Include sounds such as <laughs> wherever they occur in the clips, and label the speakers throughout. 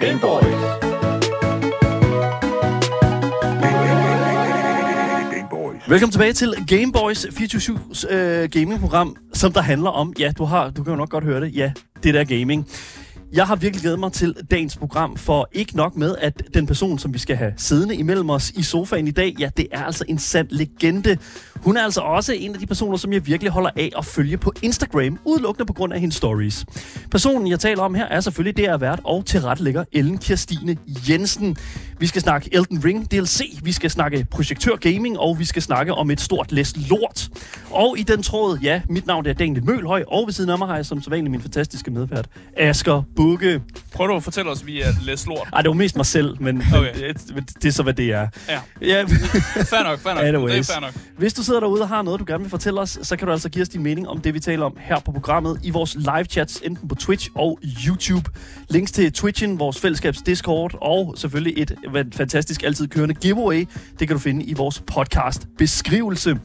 Speaker 1: Game Boys. Game Boys.
Speaker 2: Velkommen tilbage til Game Boys 24-7's øh, gamingprogram, som der handler om, ja, du har, du kan jo nok godt høre det, ja, det der gaming. Jeg har virkelig glædet mig til dagens program, for ikke nok med, at den person, som vi skal have siddende imellem os i sofaen i dag, ja, det er altså en sand legende. Hun er altså også en af de personer, som jeg virkelig holder af at følge på Instagram, udelukkende på grund af hendes stories. Personen, jeg taler om her, er selvfølgelig DR Vært og tilrettelægger Ellen Kirstine Jensen. Vi skal snakke Elden Ring DLC, vi skal snakke Projektør Gaming, og vi skal snakke om et stort læs lort. Og i den tråd, ja, mit navn er Daniel Mølhøj, og ved siden af mig har jeg som sædvanlig min fantastiske medvært, Asger Bukke.
Speaker 3: Prøv du at fortælle os, vi er læs lort.
Speaker 2: Ej, det var mest mig selv, men, okay.
Speaker 3: Okay.
Speaker 2: men det, men det er så, hvad det er.
Speaker 3: Ja,
Speaker 2: Ja,
Speaker 3: fair nok, fair nok.
Speaker 2: Anyways.
Speaker 3: Det er fair nok.
Speaker 2: hvis du sidder derude og har noget, du gerne vil fortælle os, så kan du altså give os din mening om det, vi taler om her på programmet i vores live-chats, enten på Twitch og YouTube. Links til Twitchen, vores fællesskabs Discord og selvfølgelig et van- fantastisk altid kørende giveaway, det kan du finde i vores podcast-beskrivelse.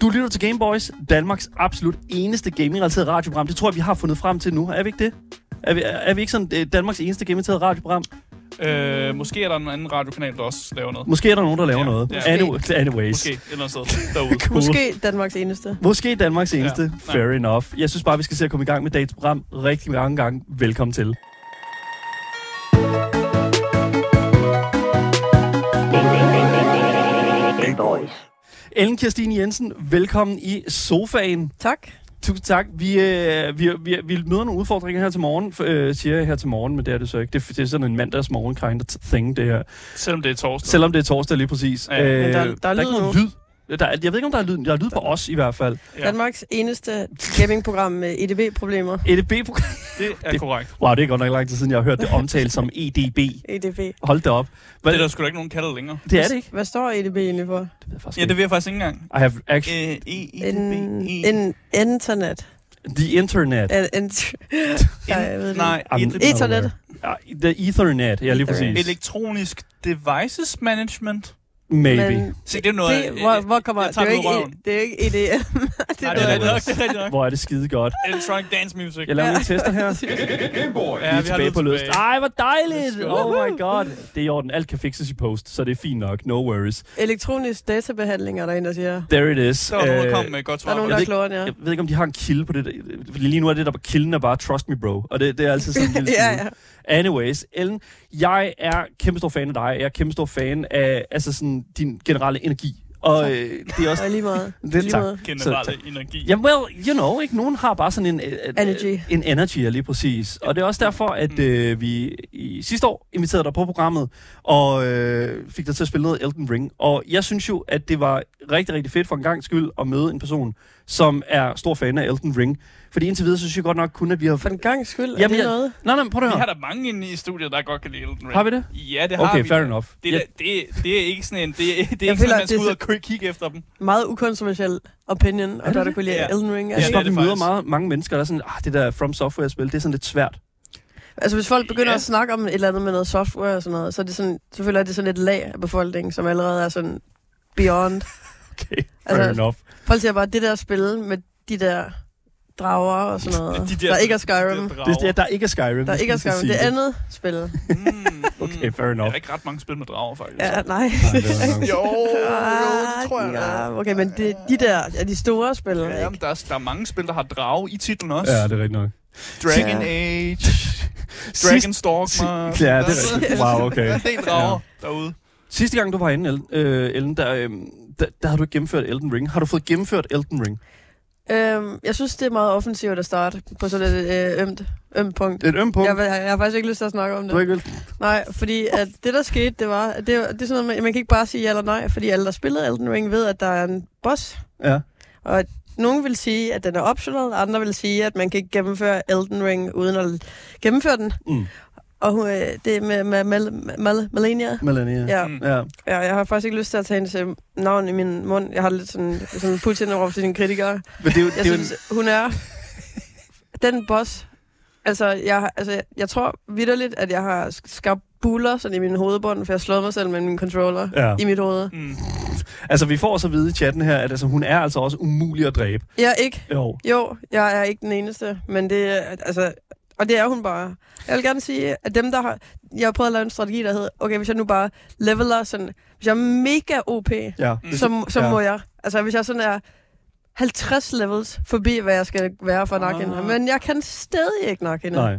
Speaker 2: Du lytter til Gameboys, Danmarks absolut eneste gaming-relateret radioprogram. Det tror jeg, vi har fundet frem til nu. Er vi ikke det? Er vi, er, er vi ikke sådan øh, Danmarks eneste gaming-relateret radioprogram?
Speaker 3: Øh, måske er der en anden radiokanal, der også laver noget.
Speaker 2: Måske er der nogen, der laver
Speaker 3: Ja,
Speaker 2: noget.
Speaker 3: ja.
Speaker 2: Any- anyways.
Speaker 3: Måske et eller andet
Speaker 2: <laughs>
Speaker 3: sted derude.
Speaker 2: Cool.
Speaker 4: Måske Danmarks eneste.
Speaker 2: Måske Danmarks eneste.
Speaker 3: Ja,
Speaker 2: Ja,
Speaker 3: nej.
Speaker 2: Fair enough. Jeg synes bare, vi skal se at komme i gang med dagens program rigtig mange gange. Velkommen til.
Speaker 1: Game Boys.
Speaker 2: Ellen Kirstine Jensen, velkommen i sofaen.
Speaker 4: Tak.
Speaker 2: Tusind tak. Vi, øh, vi, vi, vi møder nogle udfordringer her til morgen, f- øh, siger jeg her til morgen, men det er det så ikke. Det, det er sådan en mandagsmorgen kind of thing, det her.
Speaker 3: Selvom det er torsdag.
Speaker 2: Selvom det er torsdag lige præcis. Øh,
Speaker 3: Ja, men
Speaker 4: der- der er
Speaker 2: der er
Speaker 4: lyd
Speaker 2: ikke nogen
Speaker 4: nu.
Speaker 2: lyd. Der er, jeg ved ikke, om der er lyd. Der er lyd på os i hvert fald.
Speaker 3: Ja.
Speaker 4: Danmarks eneste gamingprogram med E EDB-problemer.
Speaker 2: EDB-program.
Speaker 3: Det er
Speaker 2: Det-
Speaker 3: korrekt.
Speaker 2: E <laughs> Wow, det er godt nok lang tid siden, jeg har hørt det omtalt som EDB.
Speaker 4: EDB.
Speaker 2: Hold da op. Hvad,
Speaker 3: Det er der sgu da ikke nogen kalder det længere.
Speaker 2: det er det ikke.
Speaker 4: Hvad står EDB egentlig for?
Speaker 2: Det ved jeg faktisk
Speaker 3: Ja, det vil jeg faktisk ikke engang.
Speaker 2: I have actually
Speaker 3: Øh, e, e,
Speaker 4: En,
Speaker 3: e,
Speaker 4: en internet.
Speaker 2: the internet.
Speaker 4: En, en, Nej, jeg ved det
Speaker 3: Nej,
Speaker 2: Jamen,
Speaker 3: et,
Speaker 4: Ethernet.
Speaker 2: Ja, The Ethernet, ja lige
Speaker 4: Ethernet.
Speaker 2: præcis.
Speaker 3: elektronisk devices management.
Speaker 2: Maybe.
Speaker 4: Men
Speaker 3: Se, det er noget...
Speaker 4: det, hvor, hvor kommer...
Speaker 3: jeg
Speaker 4: Det
Speaker 3: tager
Speaker 4: er jo
Speaker 3: det ud af
Speaker 4: ikke, E-
Speaker 3: røven.
Speaker 4: <laughs> det er jo ikke EDM. det
Speaker 3: Nej,
Speaker 4: er
Speaker 3: det er
Speaker 4: noget
Speaker 3: rigtigt
Speaker 4: andet.
Speaker 3: nok, det er rigtigt nok.
Speaker 2: Hvor er det skide godt.
Speaker 3: <laughs> Electronic dance music.
Speaker 2: Jeg laver
Speaker 4: Ja.
Speaker 2: lige tester
Speaker 3: <laughs>
Speaker 2: her.
Speaker 1: Game Boys.
Speaker 3: Ja,
Speaker 2: Lige
Speaker 3: vi har
Speaker 2: tilbage
Speaker 3: lidt
Speaker 2: på Ah, lyst.
Speaker 3: tilbage.
Speaker 2: Ej, hvor dejligt!
Speaker 3: Let's
Speaker 2: Oh
Speaker 3: go. <laughs>
Speaker 2: my god. Det er i orden. Alt kan fixes i post, så det er fint nok. No worries.
Speaker 4: Elektronisk databehandling er der en, der siger.
Speaker 2: There it is.
Speaker 3: Så er der nogen, der
Speaker 2: Øh,
Speaker 3: kom med et godt
Speaker 4: Der
Speaker 3: svar.
Speaker 4: er nogen,
Speaker 2: Jeg
Speaker 4: der
Speaker 2: ved
Speaker 4: er
Speaker 2: ikke-
Speaker 4: klogere end jer.
Speaker 2: jeg ved ikke, om de har en kilde på det. der- fordi Lige nu er det, der kilden er bare, trust me, bro. Og det, det er altid sådan en
Speaker 3: <laughs>
Speaker 2: lille
Speaker 4: Ja,
Speaker 2: smule.
Speaker 4: ja.
Speaker 2: Anyways, Ellen, jeg er kæmpe stor fan af dig. Jeg er kæmpe stor fan af altså sådan, din generelle energi. Og øh, det er også
Speaker 4: Og lige meget.
Speaker 2: Det er
Speaker 4: lige
Speaker 2: tak.
Speaker 4: meget.
Speaker 3: Generelle energi.
Speaker 2: Ja, well, you know, ikke? Nogen har bare sådan en... øh, øh,
Speaker 4: Energy. Mm.
Speaker 2: En energy, ja, lige præcis. Og det er også derfor, at øh, vi i sidste år inviterede dig på programmet, og øh, fik dig til at spille noget Elden Ring. Og jeg synes jo, at det var rigtig, rigtig fedt for en gang skyld at møde en person, som er stor fan af Elden Ring. Fordi indtil videre, så synes jeg godt nok kun, at vi har...
Speaker 4: For en gang skyld er
Speaker 2: Jamen,
Speaker 4: det
Speaker 2: jeg-
Speaker 4: noget.
Speaker 2: Nej, nej, prøv at
Speaker 3: Vi har
Speaker 2: høre.
Speaker 3: der mange inde i studiet, der godt kan lide Elden Ring.
Speaker 2: Har vi det?
Speaker 3: Ja, det har
Speaker 2: Okay,
Speaker 3: vi.
Speaker 2: fair enough.
Speaker 3: Det,
Speaker 2: Ja,
Speaker 3: ja. det, det er ikke sådan en... Det, det er ikke sådan,
Speaker 4: føler,
Speaker 3: at man
Speaker 4: at
Speaker 3: skal
Speaker 4: det
Speaker 3: ud
Speaker 4: er
Speaker 3: og kø- kigge efter dem.
Speaker 4: Meget ukontroversiel opinion, og
Speaker 2: det
Speaker 4: der er der
Speaker 2: det?
Speaker 4: kunne lide
Speaker 3: Ja.
Speaker 4: Elden Ring.
Speaker 2: jeg synes
Speaker 3: det er
Speaker 4: Altså,
Speaker 2: bare, vi
Speaker 3: det
Speaker 2: møder
Speaker 3: faktisk.
Speaker 2: meget, mange mennesker, der er sådan, ah, det der From Software-spil, det er sådan lidt svært.
Speaker 4: Altså hvis folk begynder
Speaker 3: Ja.
Speaker 4: ja. at snakke om et eller andet med noget software og sådan noget, så er det sådan, selvfølgelig er det sådan et lag af befolkningen, som allerede er sådan beyond.
Speaker 2: Okay, fair
Speaker 4: Altså-
Speaker 2: enough.
Speaker 4: Folk siger bare, det der spil med de der drager og sådan noget,
Speaker 3: <laughs> De
Speaker 4: de der, der ikke er Skyrim,
Speaker 3: de
Speaker 2: Det, det,
Speaker 3: drager.
Speaker 2: der ikke er Skyrim.
Speaker 4: der
Speaker 2: hvis
Speaker 4: ikke er
Speaker 2: man skal
Speaker 4: Skyrim,
Speaker 2: sige
Speaker 4: det er andet spil.
Speaker 3: Mm,
Speaker 4: <laughs>
Speaker 2: Okay,
Speaker 3: mm.
Speaker 2: fair
Speaker 3: Der
Speaker 2: enough.
Speaker 3: er ikke ret mange spil med drager, faktisk.
Speaker 4: Ja, nej.
Speaker 2: Nej, det
Speaker 4: <laughs>
Speaker 2: er nok-
Speaker 3: <laughs> Jo,
Speaker 4: Ah, ja, okay, men det, de der er de store spil,
Speaker 3: Ja,
Speaker 4: ja,
Speaker 3: jamen, der, er, der er mange spil, der har drage i titlen også.
Speaker 2: Ja,
Speaker 3: Ja.
Speaker 2: det er rigtigt nok.
Speaker 3: Dragon
Speaker 4: Ja.
Speaker 3: Age,
Speaker 2: Sidst-
Speaker 3: Dragon Storm.
Speaker 2: si- Ja, det er
Speaker 3: <laughs>
Speaker 2: rigtigt. Wow,
Speaker 3: Der
Speaker 2: okay.
Speaker 3: er en del drager derude.
Speaker 2: Sidste gang, du var inde, Ellen, øh, Ellen der, øh, der, der har du ikke gennemført Elden Ring. Har du fået gennemført Elden Ring?
Speaker 4: øhm, Jeg synes, det er meget offensivt at starte på sådan et øh, ømt, ømt punkt.
Speaker 2: Det er et øm punkt.
Speaker 4: Jeg, vil- jeg har faktisk ikke lyst til at snakke om det.
Speaker 2: Du har ikke vel?
Speaker 4: Nej, fordi at det, der skete, det var... at Det, det er sådan noget, man, man kan ikke bare sige ja eller nej, fordi alle, der spillede Elden Ring, ved, at der er en boss.
Speaker 2: Ja.
Speaker 4: Og at nogen vil sige, at den er optional, andre vil sige, at man kan ikke gennemføre Elden Ring uden at gennemføre den.
Speaker 2: Mm.
Speaker 4: Og hun, øh, det er med, med, med, med Melania.
Speaker 2: Melania.
Speaker 4: Ja,
Speaker 3: Mm.
Speaker 2: Ja.
Speaker 4: ja, jeg har faktisk ikke lyst til at tage hendes øh, navn i min mund. Jeg har lidt sådan, sådan Putin over til sine kritikere.
Speaker 2: Men det er jo,
Speaker 4: Jeg
Speaker 2: det er jo
Speaker 4: synes, hun er den boss. Altså, jeg, har- altså, jeg- jeg tror vidderligt, at jeg har sk- skabt buller sådan i min hovedbund, for jeg har slået mig selv med min controller
Speaker 2: Ja.
Speaker 4: ja. i mit hoved.
Speaker 3: Mm.
Speaker 2: Altså, vi får så at vide i chatten her, at altså, hun er altså også umulig at dræbe.
Speaker 4: Jeg er ikke.
Speaker 2: Jo.
Speaker 4: Jo, jeg er ikke den eneste, men det er, altså, Og det er hun bare. Jeg vil gerne sige, at dem, der har... Jeg har prøvet at lave en strategi, der hedder, okay, hvis jeg nu bare leveler sådan... Hvis jeg er mega OP,
Speaker 2: Ja.
Speaker 4: så, så
Speaker 2: Mm. Ja.
Speaker 4: ja. må jeg. Altså, hvis jeg sådan er 50 levels forbi, hvad jeg skal være for at nakke hende.
Speaker 3: Ah.
Speaker 4: Men jeg kan stadig ikke nakke hende.
Speaker 2: Nej.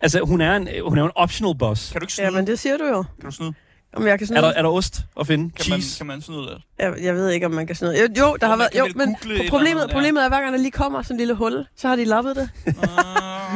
Speaker 2: Altså, hun er en, hun er jo en optional boss.
Speaker 3: Kan du ikke snyde?
Speaker 4: Jamen, det siger du jo.
Speaker 3: Kan du snyde?
Speaker 4: Om jeg kan
Speaker 2: Er
Speaker 4: sådan
Speaker 2: der, er der ost at finde?
Speaker 3: Kan man,
Speaker 2: Cheese?
Speaker 3: kan man snyde det?
Speaker 4: Jeg, jeg ved ikke, om man kan sådan noget. Jo, jo der
Speaker 3: Jo,
Speaker 4: har
Speaker 3: man
Speaker 4: været...
Speaker 3: kan
Speaker 4: Jo,
Speaker 3: vel
Speaker 4: men
Speaker 3: google et eller
Speaker 4: problemet,
Speaker 3: andet, ja.
Speaker 4: problemet er, hver gang der lige kommer sådan en lille hul, <laughs> så har de lappet det.
Speaker 3: Ah.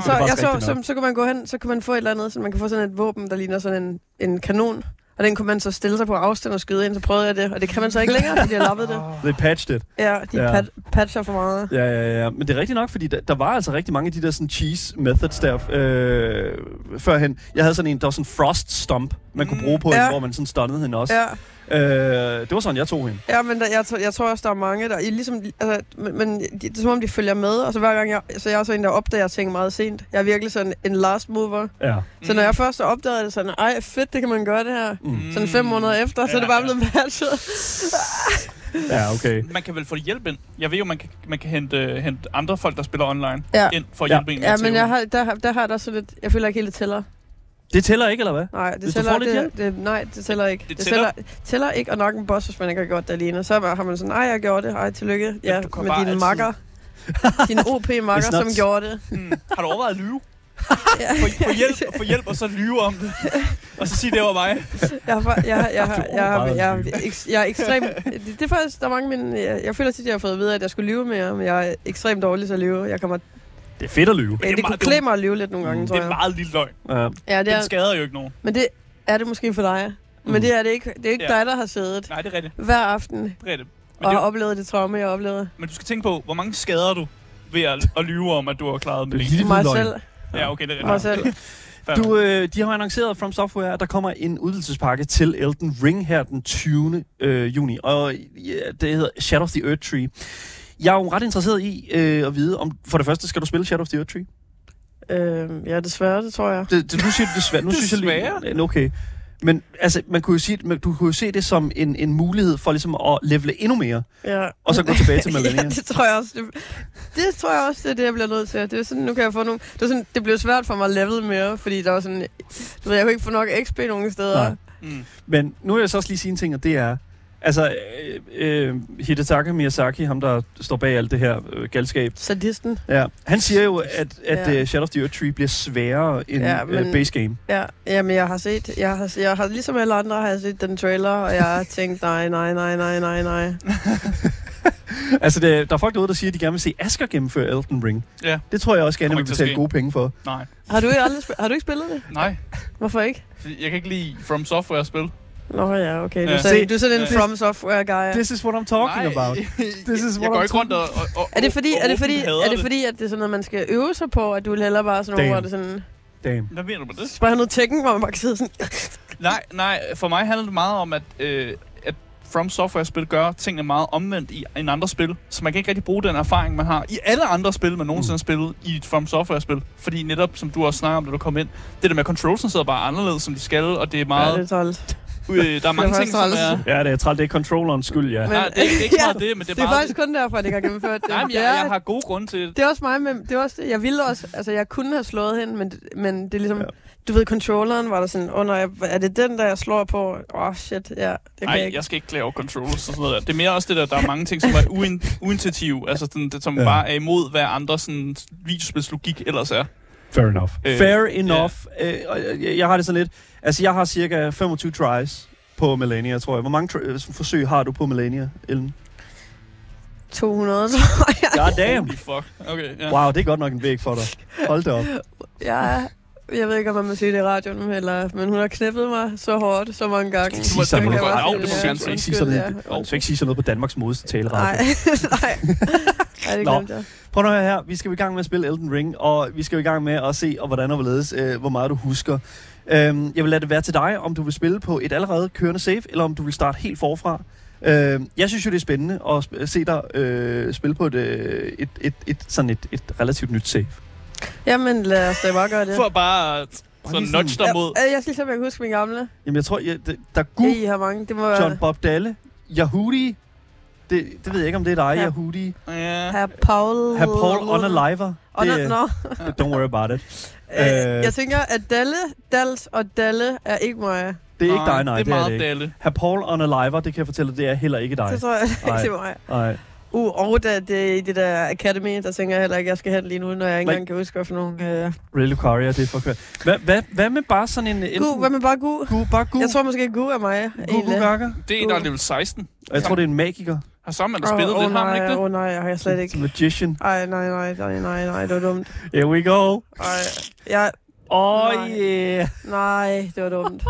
Speaker 4: Så,
Speaker 2: er faktisk
Speaker 4: jeg så,
Speaker 2: rigtigt
Speaker 4: så, så, kan man gå hen, så kan man få et eller andet, så man kan få sådan et våben, der ligner sådan en, en kanon. Og den kunne man så stille sig på afstand og skyde ind, så prøvede jeg det. Og det kan man så ikke længere, fordi de har lappet det.
Speaker 3: Ah.
Speaker 2: They patched it.
Speaker 4: Ja, de
Speaker 2: Ja.
Speaker 4: ja. Pat, patcher for meget.
Speaker 2: Ja, ja, ja. Men det er rigtigt nok, fordi der, der var altså rigtig mange af de der sådan cheese methods der øh, førhen. Jeg havde sådan en, der var sådan en frost stomp, man kunne bruge på ja.
Speaker 4: Mm, Ja.
Speaker 2: hende, hvor man sådan stunnede hende også.
Speaker 4: Ja,
Speaker 2: Øh, det var sådan, jeg tog hende.
Speaker 4: ja men der, jeg, tror- jeg, tror også, der er mange, der... I ligesom, altså, men, men de, det er som om, de følger med. Og så hver gang jeg... Så jeg er også en, der opdager ting meget sent. Jeg er virkelig sådan en last mover.
Speaker 2: Ja.
Speaker 4: Så når jeg først opdagede det, sådan, ej fedt, det kan man gøre det her.
Speaker 2: Mm.
Speaker 4: Sådan fem måneder efter, ja, så er det
Speaker 3: Ja,
Speaker 4: bare
Speaker 3: ja.
Speaker 4: blevet patchet.
Speaker 2: Ja, okay.
Speaker 3: Man kan vel få hjælp ind. Jeg ved jo, man kan, man kan hente, hente andre folk, der spiller online,
Speaker 4: Ja.
Speaker 3: ind for at
Speaker 2: Ja.
Speaker 3: hjælpe en. med
Speaker 4: Ja,
Speaker 3: at
Speaker 4: men
Speaker 3: tæve.
Speaker 4: jeg har, der, har- der har der sådan lidt... Jeg føler ikke helt, det tæller.
Speaker 2: Det tæller ikke, eller hvad?
Speaker 4: Nej, det
Speaker 2: Hvis du får
Speaker 4: tæller,
Speaker 2: lidt hjælp?
Speaker 4: det, det, nej, det tæller ikke.
Speaker 3: det
Speaker 4: tæller, tæller ikke at nok en boss, hvis man ikke har gjort det alene. Så har man sådan, nej, jeg gjorde det. Ej, tillykke. Ja,
Speaker 3: du kan
Speaker 4: med
Speaker 3: bare
Speaker 4: dine
Speaker 3: altid-
Speaker 4: makker. Dine OP-makker,
Speaker 2: It's not-
Speaker 4: som gjorde det.
Speaker 3: Mm. Har du overvejet at lyve?
Speaker 4: Ja.
Speaker 3: Få
Speaker 2: <laughs>
Speaker 3: hjælp, få hjælp, og så lyve om det. Og så sige, det var mig.
Speaker 4: <laughs> Jeg har, jeg, har- jeg, har, jeg, har,
Speaker 2: Meget
Speaker 4: jeg, har, ek- jeg er ekstremt... Det, det er faktisk, der er mange af mine... Jeg, jeg føler tit, jeg har fået at vide, at jeg skulle lyve mere, men jeg er ekstremt dårlig til at lyve. Jeg kommer,
Speaker 2: Det er fedt at lyve.
Speaker 4: ja,
Speaker 3: er
Speaker 4: det kunne
Speaker 3: meget
Speaker 4: klæde
Speaker 3: dumt.
Speaker 4: mig at lyve lidt nogle gange, tror
Speaker 3: Det er
Speaker 4: jeg.
Speaker 3: meget lille løgn.
Speaker 2: Ja.
Speaker 4: Ja, det
Speaker 3: Den
Speaker 4: er,
Speaker 3: skader jo ikke nogen.
Speaker 4: men det er det måske for dig. Men
Speaker 2: Mm.
Speaker 4: det er det ikke. Det er ikke
Speaker 3: Ja.
Speaker 4: dig, der har siddet
Speaker 3: Nej, det er rigtigt.
Speaker 4: hver aften
Speaker 3: Det er rigtigt. Men,
Speaker 4: og
Speaker 3: det,
Speaker 4: har
Speaker 3: er-
Speaker 4: oplevet det traume, jeg oplevede.
Speaker 3: men du skal tænke på, hvor mange skader du ved at, at lyve om, at du har klaret med
Speaker 2: Det er
Speaker 3: det.
Speaker 2: lige
Speaker 4: Mig
Speaker 2: løgn.
Speaker 4: selv.
Speaker 3: Ja, okay, det er
Speaker 4: Mig
Speaker 3: rigtigt.
Speaker 4: selv.
Speaker 3: Fair nok.
Speaker 2: Du, øh, de har jo annonceret From Software, at der kommer en udvidelsespakke til Elden Ring her den 20. Øh, juni, og ja, det hedder Shadow of the Earth Tree. Jeg er jo ret interesseret i øh, at vide, om for det første, skal du spille Shadow of the Earth Tree?
Speaker 4: Øhm, ja, desværre, det tror jeg.
Speaker 2: Det, det, nu siger du desværre. Nu synes jeg lige,
Speaker 3: Desværre.
Speaker 2: okay. Men altså, man kunne jo sige, man, du kunne jo se det som en, en mulighed for ligesom at levele endnu mere,
Speaker 4: Ja.
Speaker 2: og så
Speaker 3: <laughs>
Speaker 2: gå tilbage til Melania.
Speaker 4: <laughs> ja, det tror jeg også. Det, det, tror jeg også, det er det, jeg bliver nødt til. Det er sådan, nu kan jeg få nogle... Det, er sådan, det blev svært for mig at level mere, fordi der var sådan... Du ved, jeg kunne ikke få nok XP nogen steder.
Speaker 2: Nej.
Speaker 3: Mm.
Speaker 2: Men nu vil jeg så også lige sige en ting, og det er... Altså, øh, øh, Hidetaka Miyazaki, ham der står bag alt det her øh, galskab,
Speaker 4: Sadisten.
Speaker 2: ja, han siger jo, at, at
Speaker 4: Ja.
Speaker 2: ja. uh, Shadow of the Earth Tree bliver sværere end ja,
Speaker 4: Ja,
Speaker 2: men...
Speaker 4: men-
Speaker 2: uh, base game.
Speaker 4: Ja, jamen jeg har set, jeg har, jeg har ligesom alle andre har jeg set den trailer, og jeg har tænkt, nej, nej, nej, nej, nej, nej.
Speaker 2: Altså, det, der er folk derude, der siger, at de gerne vil se Asger gennemføre Elden Ring.
Speaker 3: Ja.
Speaker 2: Det tror jeg også gerne,
Speaker 3: Kommer
Speaker 2: vil
Speaker 3: ikke til at
Speaker 2: betale
Speaker 3: ske.
Speaker 2: gode penge for.
Speaker 3: Nej.
Speaker 4: Har du, ikke aldrig spil- har du ikke spillet det?
Speaker 3: Nej.
Speaker 4: Hvorfor ikke?
Speaker 3: Fordi Jeg kan ikke lide From Software-spil.
Speaker 4: Nå ja, okay. Du,
Speaker 3: Ja.
Speaker 4: ja. Sagde,
Speaker 2: Se,
Speaker 4: du er sådan en
Speaker 3: ja.
Speaker 4: From Software-guy.
Speaker 2: This is what I'm talking
Speaker 3: Nej, <laughs>
Speaker 2: about. This is
Speaker 3: jeg
Speaker 2: what
Speaker 3: går
Speaker 2: I'm
Speaker 3: ikke rundt og, og, og
Speaker 4: Er det fordi,
Speaker 3: og
Speaker 4: er det
Speaker 3: åbent
Speaker 4: fordi,
Speaker 3: hader
Speaker 4: er det fordi, at det er sådan noget, man skal øve sig på, at du vil hellere bare sådan
Speaker 2: Damn.
Speaker 4: over det sådan...
Speaker 2: Damn.
Speaker 3: Hvad mener du med det?
Speaker 4: Bare have noget tekken, hvor man bare kan sidde sådan...
Speaker 3: Nej, nej, for mig handler det meget om, at, øh, at From Software-spil gør tingene meget omvendt i en andre spil. Så man kan ikke rigtig bruge den erfaring, man har i alle andre spil, man
Speaker 4: Mm.
Speaker 3: nogensinde har spillet i et From Software-spil. Fordi netop, som du også snakker om, da du kom ind, det der med controlsen sidder bare anderledes, som de skal, og det er
Speaker 4: Ja, det
Speaker 3: meget...
Speaker 4: er træls.
Speaker 3: øh, der er mange
Speaker 4: <laughs> Det er
Speaker 3: ting, som
Speaker 4: faktisk
Speaker 3: er...
Speaker 4: træls.
Speaker 2: Ja, det er træt. Det er controllerens skyld, ja.
Speaker 4: Men-
Speaker 3: Nej, det er, det er ikke så
Speaker 4: <laughs> Ja,
Speaker 3: meget det, men det
Speaker 4: Det
Speaker 3: er
Speaker 4: er
Speaker 3: bare...
Speaker 4: faktisk kun derfor, at jeg ikke har gennemført det.
Speaker 3: <laughs> Nej, men jeg,
Speaker 4: det, er,
Speaker 3: jeg har gode grunde til det.
Speaker 4: det er også mig, men det er også det. Jeg ville også... Altså, jeg kunne have slået hende, men, men det er ligesom...
Speaker 2: Ja.
Speaker 4: Ja. Du ved, controlleren var der sådan... Åh oh, nej, er det den, der jeg slår på? Åh, oh, shit, ja. Det kan
Speaker 3: Nej,
Speaker 4: jeg
Speaker 3: jeg,
Speaker 4: ikke.
Speaker 3: jeg skal ikke klage over controllers og sådan noget der. Det er mere også det der, der er mange ting, som er uin- uintuitive, altså sådan, det, som
Speaker 2: Ja.
Speaker 3: ja. bare er imod, hvad andre sådan, videospilslogik ellers er.
Speaker 2: Fair enough.
Speaker 3: Øh,
Speaker 2: Fair enough. Øh, og jeg, jeg har det sådan lidt... Altså, jeg har cirka 25 tries på Melania, tror jeg. Hvor mange tri- øh, forsøg har du på Melania, Ellen?
Speaker 4: 200, <laughs> tror jeg.
Speaker 2: God damn!
Speaker 3: Holy fuck. Okay, ja.
Speaker 2: Wow, det er godt nok en væg for dig. Hold da op.
Speaker 4: Jeg er- jeg ved ikke, om man må sige det i radioen, eller, men hun har knæppet mig så hårdt, så mange gange.
Speaker 2: Skal sige sådan
Speaker 4: Det
Speaker 2: noget?
Speaker 4: kan jeg
Speaker 2: Au,
Speaker 4: bare
Speaker 2: det må
Speaker 4: sige,
Speaker 2: du
Speaker 4: ja.
Speaker 2: gerne sige. Sige
Speaker 4: Undskyld,
Speaker 2: sådan
Speaker 4: ja.
Speaker 2: noget. Du skal ikke sige sådan noget på Danmarks modeste
Speaker 4: Nej,
Speaker 2: taleradio.
Speaker 4: <laughs> nej. Ej, det
Speaker 2: Nå.
Speaker 4: glemte jeg.
Speaker 2: Prøv nu at høre her. Vi skal jo i gang med at spille Elden Ring, og vi skal jo i gang med at se, og hvordan og hvorledes, øh, hvor meget du husker. Øhm, jeg vil lade det være til dig, om du vil spille på et allerede kørende save, eller om du vil starte helt forfra. Øhm, jeg synes jo, det er spændende at sp- se dig øh, spille på et, øh, et, et, et, sådan et, et relativt nyt save.
Speaker 4: Jamen, lad os da bare gøre det.
Speaker 3: For bare at
Speaker 2: Bare
Speaker 3: sådan
Speaker 2: lige
Speaker 3: nudge dig
Speaker 4: Ja,
Speaker 3: mod...
Speaker 4: øh, jeg skal lige se, om jeg kan huske min gamle.
Speaker 2: Jamen, jeg tror, jeg, det, der er
Speaker 4: Gud.
Speaker 2: Gud,
Speaker 4: I har mange. Det må være...
Speaker 2: John Bob Dalle, Yahudi, det Det, det ved jeg ikke, om det er dig,
Speaker 4: Ja.
Speaker 2: ja. Yehudi.
Speaker 3: Ja.
Speaker 4: Herr Paul...
Speaker 2: Her Paul on a liver.
Speaker 4: Oh, no, no.
Speaker 2: Don't worry about it.
Speaker 4: Øh,
Speaker 2: Øh.
Speaker 4: jeg tænker, at Dalle, Dals og Dalle er ikke mig.
Speaker 2: Det er ikke dig, nej.
Speaker 3: Det er meget
Speaker 2: det ikke.
Speaker 3: dalle.
Speaker 2: Her Paul on a liver, det kan jeg fortælle, det er heller ikke dig.
Speaker 4: Det tror jeg <laughs>
Speaker 2: Ej.
Speaker 4: ikke, det er mig.
Speaker 2: Nej.
Speaker 4: Uh, og da det er i det der Academy, der tænker jeg heller ikke, jeg skal hen lige nu, når jeg ikke
Speaker 2: Men-
Speaker 4: engang kan huske, hvad for nogle... Øh...
Speaker 2: Really Lucaria, det er for kørt. Hvad, hvad, hvad med bare sådan en... en
Speaker 4: Gu, hvad med bare gu?
Speaker 2: Gu, bare gu.
Speaker 4: Jeg tror måske, gu er mig.
Speaker 2: Mm. gu, gu, gakker.
Speaker 3: Det er en, der er level 16.
Speaker 2: Og Jeg tror, det er en magiker.
Speaker 3: Har sammen der spillet
Speaker 4: oh,
Speaker 3: det, har man ikke
Speaker 4: nej,
Speaker 3: det?
Speaker 4: Åh oh, nej, jeg har jeg slet
Speaker 2: En
Speaker 4: ikke.
Speaker 2: magician.
Speaker 4: Ej, nej, nej, nej, nej, nej, det var dumt.
Speaker 2: Here we go.
Speaker 4: Ej, jeg,
Speaker 2: Oh
Speaker 4: Nej.
Speaker 2: yeah.
Speaker 4: nej, det var dumt.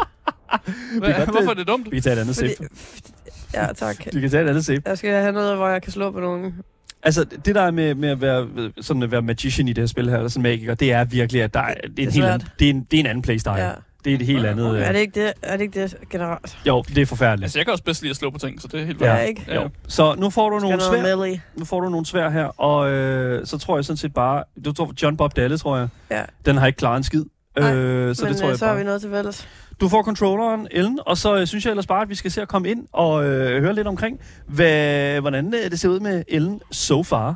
Speaker 2: kan godt-
Speaker 3: Hva, hvorfor er det dumt?
Speaker 2: Vi kan tage et andet
Speaker 4: Fordi,
Speaker 2: sip.
Speaker 4: ja, tak.
Speaker 2: Vi kan tage et andet sip.
Speaker 4: Jeg skal have noget, hvor jeg kan slå på nogen.
Speaker 2: Altså, det der er med, med at, være, ved- sådan at være magician i det her spil her, eller sådan magiker, det er virkelig, at der er, det er, en,
Speaker 4: er
Speaker 2: helt
Speaker 4: svært.
Speaker 2: anden, det er en, det er en anden playstyle.
Speaker 4: Ja.
Speaker 2: Ja. Det er et helt andet...
Speaker 4: Er
Speaker 2: Øh,
Speaker 4: det ikke det, er det, ikke det generelt?
Speaker 2: jo, det er forfærdeligt.
Speaker 3: Altså, jeg kan også bedst lide at slå på ting, så det er helt
Speaker 4: Ja.
Speaker 3: ja.
Speaker 4: Er jeg ikke?
Speaker 3: Ja.
Speaker 2: Jo. Så nu får du
Speaker 4: Skal
Speaker 2: nogle
Speaker 4: noget
Speaker 2: svær,
Speaker 4: melee?
Speaker 2: nu får du nogle svær her, og øh, så tror jeg sådan set bare... Du tror John Bob Dalle, tror jeg.
Speaker 4: Ja.
Speaker 2: Den har ikke klaret en skid.
Speaker 4: Nej,
Speaker 2: øh, så
Speaker 4: Men
Speaker 2: det tror
Speaker 4: øh,
Speaker 2: jeg
Speaker 4: så har
Speaker 2: bare.
Speaker 4: vi noget til fælles.
Speaker 2: Du får controlleren, Ellen, og så øh, synes jeg ellers bare, at vi skal se at komme ind og øh, høre lidt omkring, hvad, hvordan øh, det ser ud med Ellen so far.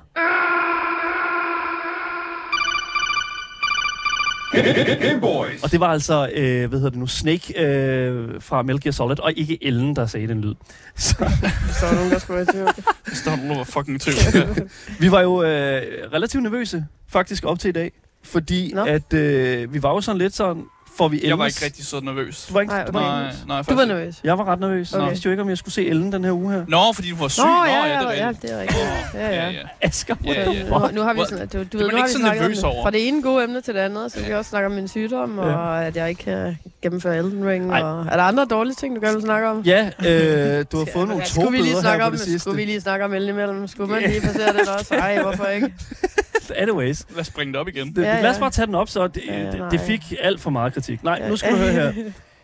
Speaker 1: Game Boys.
Speaker 2: Og det var altså, øh, hvad hedder det nu, Snake øh, fra Metal Gear Solid, og ikke Ellen, der sagde den lyd. <laughs> Så,
Speaker 4: Så er der nogen, der skulle være i tvivl.
Speaker 3: Hvis der er nogen, der var fucking i tvivl.
Speaker 2: <laughs>
Speaker 3: Ja.
Speaker 2: vi var jo øh, relativt nervøse, faktisk, op til i dag. Fordi
Speaker 4: Nå.
Speaker 2: Nå. at øh, vi var jo sådan lidt sådan, får vi Ellen...
Speaker 3: Jeg var ikke rigtig så nervøs.
Speaker 2: Du var ikke,
Speaker 4: Nej,
Speaker 2: du var,
Speaker 4: okay.
Speaker 3: Nej, nej,
Speaker 4: Du var
Speaker 3: faktisk.
Speaker 4: nervøs.
Speaker 2: Jeg var ret nervøs.
Speaker 4: Okay.
Speaker 2: Okay. Jeg vidste jo ikke, om jeg skulle se Ellen den her uge her.
Speaker 3: Nå, fordi du var syg.
Speaker 4: Nå,
Speaker 3: Nå,
Speaker 4: ja,
Speaker 3: ja,
Speaker 4: ja,
Speaker 3: det er
Speaker 4: ja,
Speaker 3: rigtigt.
Speaker 4: det er rigtigt. Ja, ja.
Speaker 3: Ja,
Speaker 4: ja.
Speaker 3: ja.
Speaker 2: <laughs> Asger, what
Speaker 3: Ja,
Speaker 2: the
Speaker 3: ja.
Speaker 2: fuck?
Speaker 4: Nu, nu har vi
Speaker 3: Hvor-
Speaker 4: sådan, du, du
Speaker 3: er man
Speaker 4: ved, nu har
Speaker 3: ikke
Speaker 4: vi
Speaker 3: så
Speaker 4: snakket om
Speaker 3: nervøs
Speaker 4: det.
Speaker 3: over.
Speaker 4: Fra det ene gode emne til det andet, så vi også snakker om min sygdom,
Speaker 2: Ja.
Speaker 4: og at jeg ikke kan gennemføre Elden Ring.
Speaker 2: Ej.
Speaker 4: Og, er der andre dårlige ting, du gerne vil snakke om?
Speaker 2: Ja, øh, du har
Speaker 4: Skal-
Speaker 2: fået nogle
Speaker 4: ja,
Speaker 2: to
Speaker 4: skulle vi lige
Speaker 2: her
Speaker 4: snakke
Speaker 2: på
Speaker 4: om,
Speaker 2: det sidste.
Speaker 4: Skulle vi lige snakke om Elden imellem? Skulle man lige passere den også? Ej, hvorfor
Speaker 2: <laughs>
Speaker 4: ikke?
Speaker 2: Anyways,
Speaker 3: Lad os bringe det op igen.
Speaker 2: det,
Speaker 4: Ja,
Speaker 2: ja, lad os
Speaker 4: ja.
Speaker 2: bare tage den op, så det,
Speaker 4: Ja,
Speaker 2: ja, det,
Speaker 4: nej.
Speaker 2: det fik alt for meget kritik. Nej, nu skal du høre
Speaker 4: <laughs>
Speaker 2: her.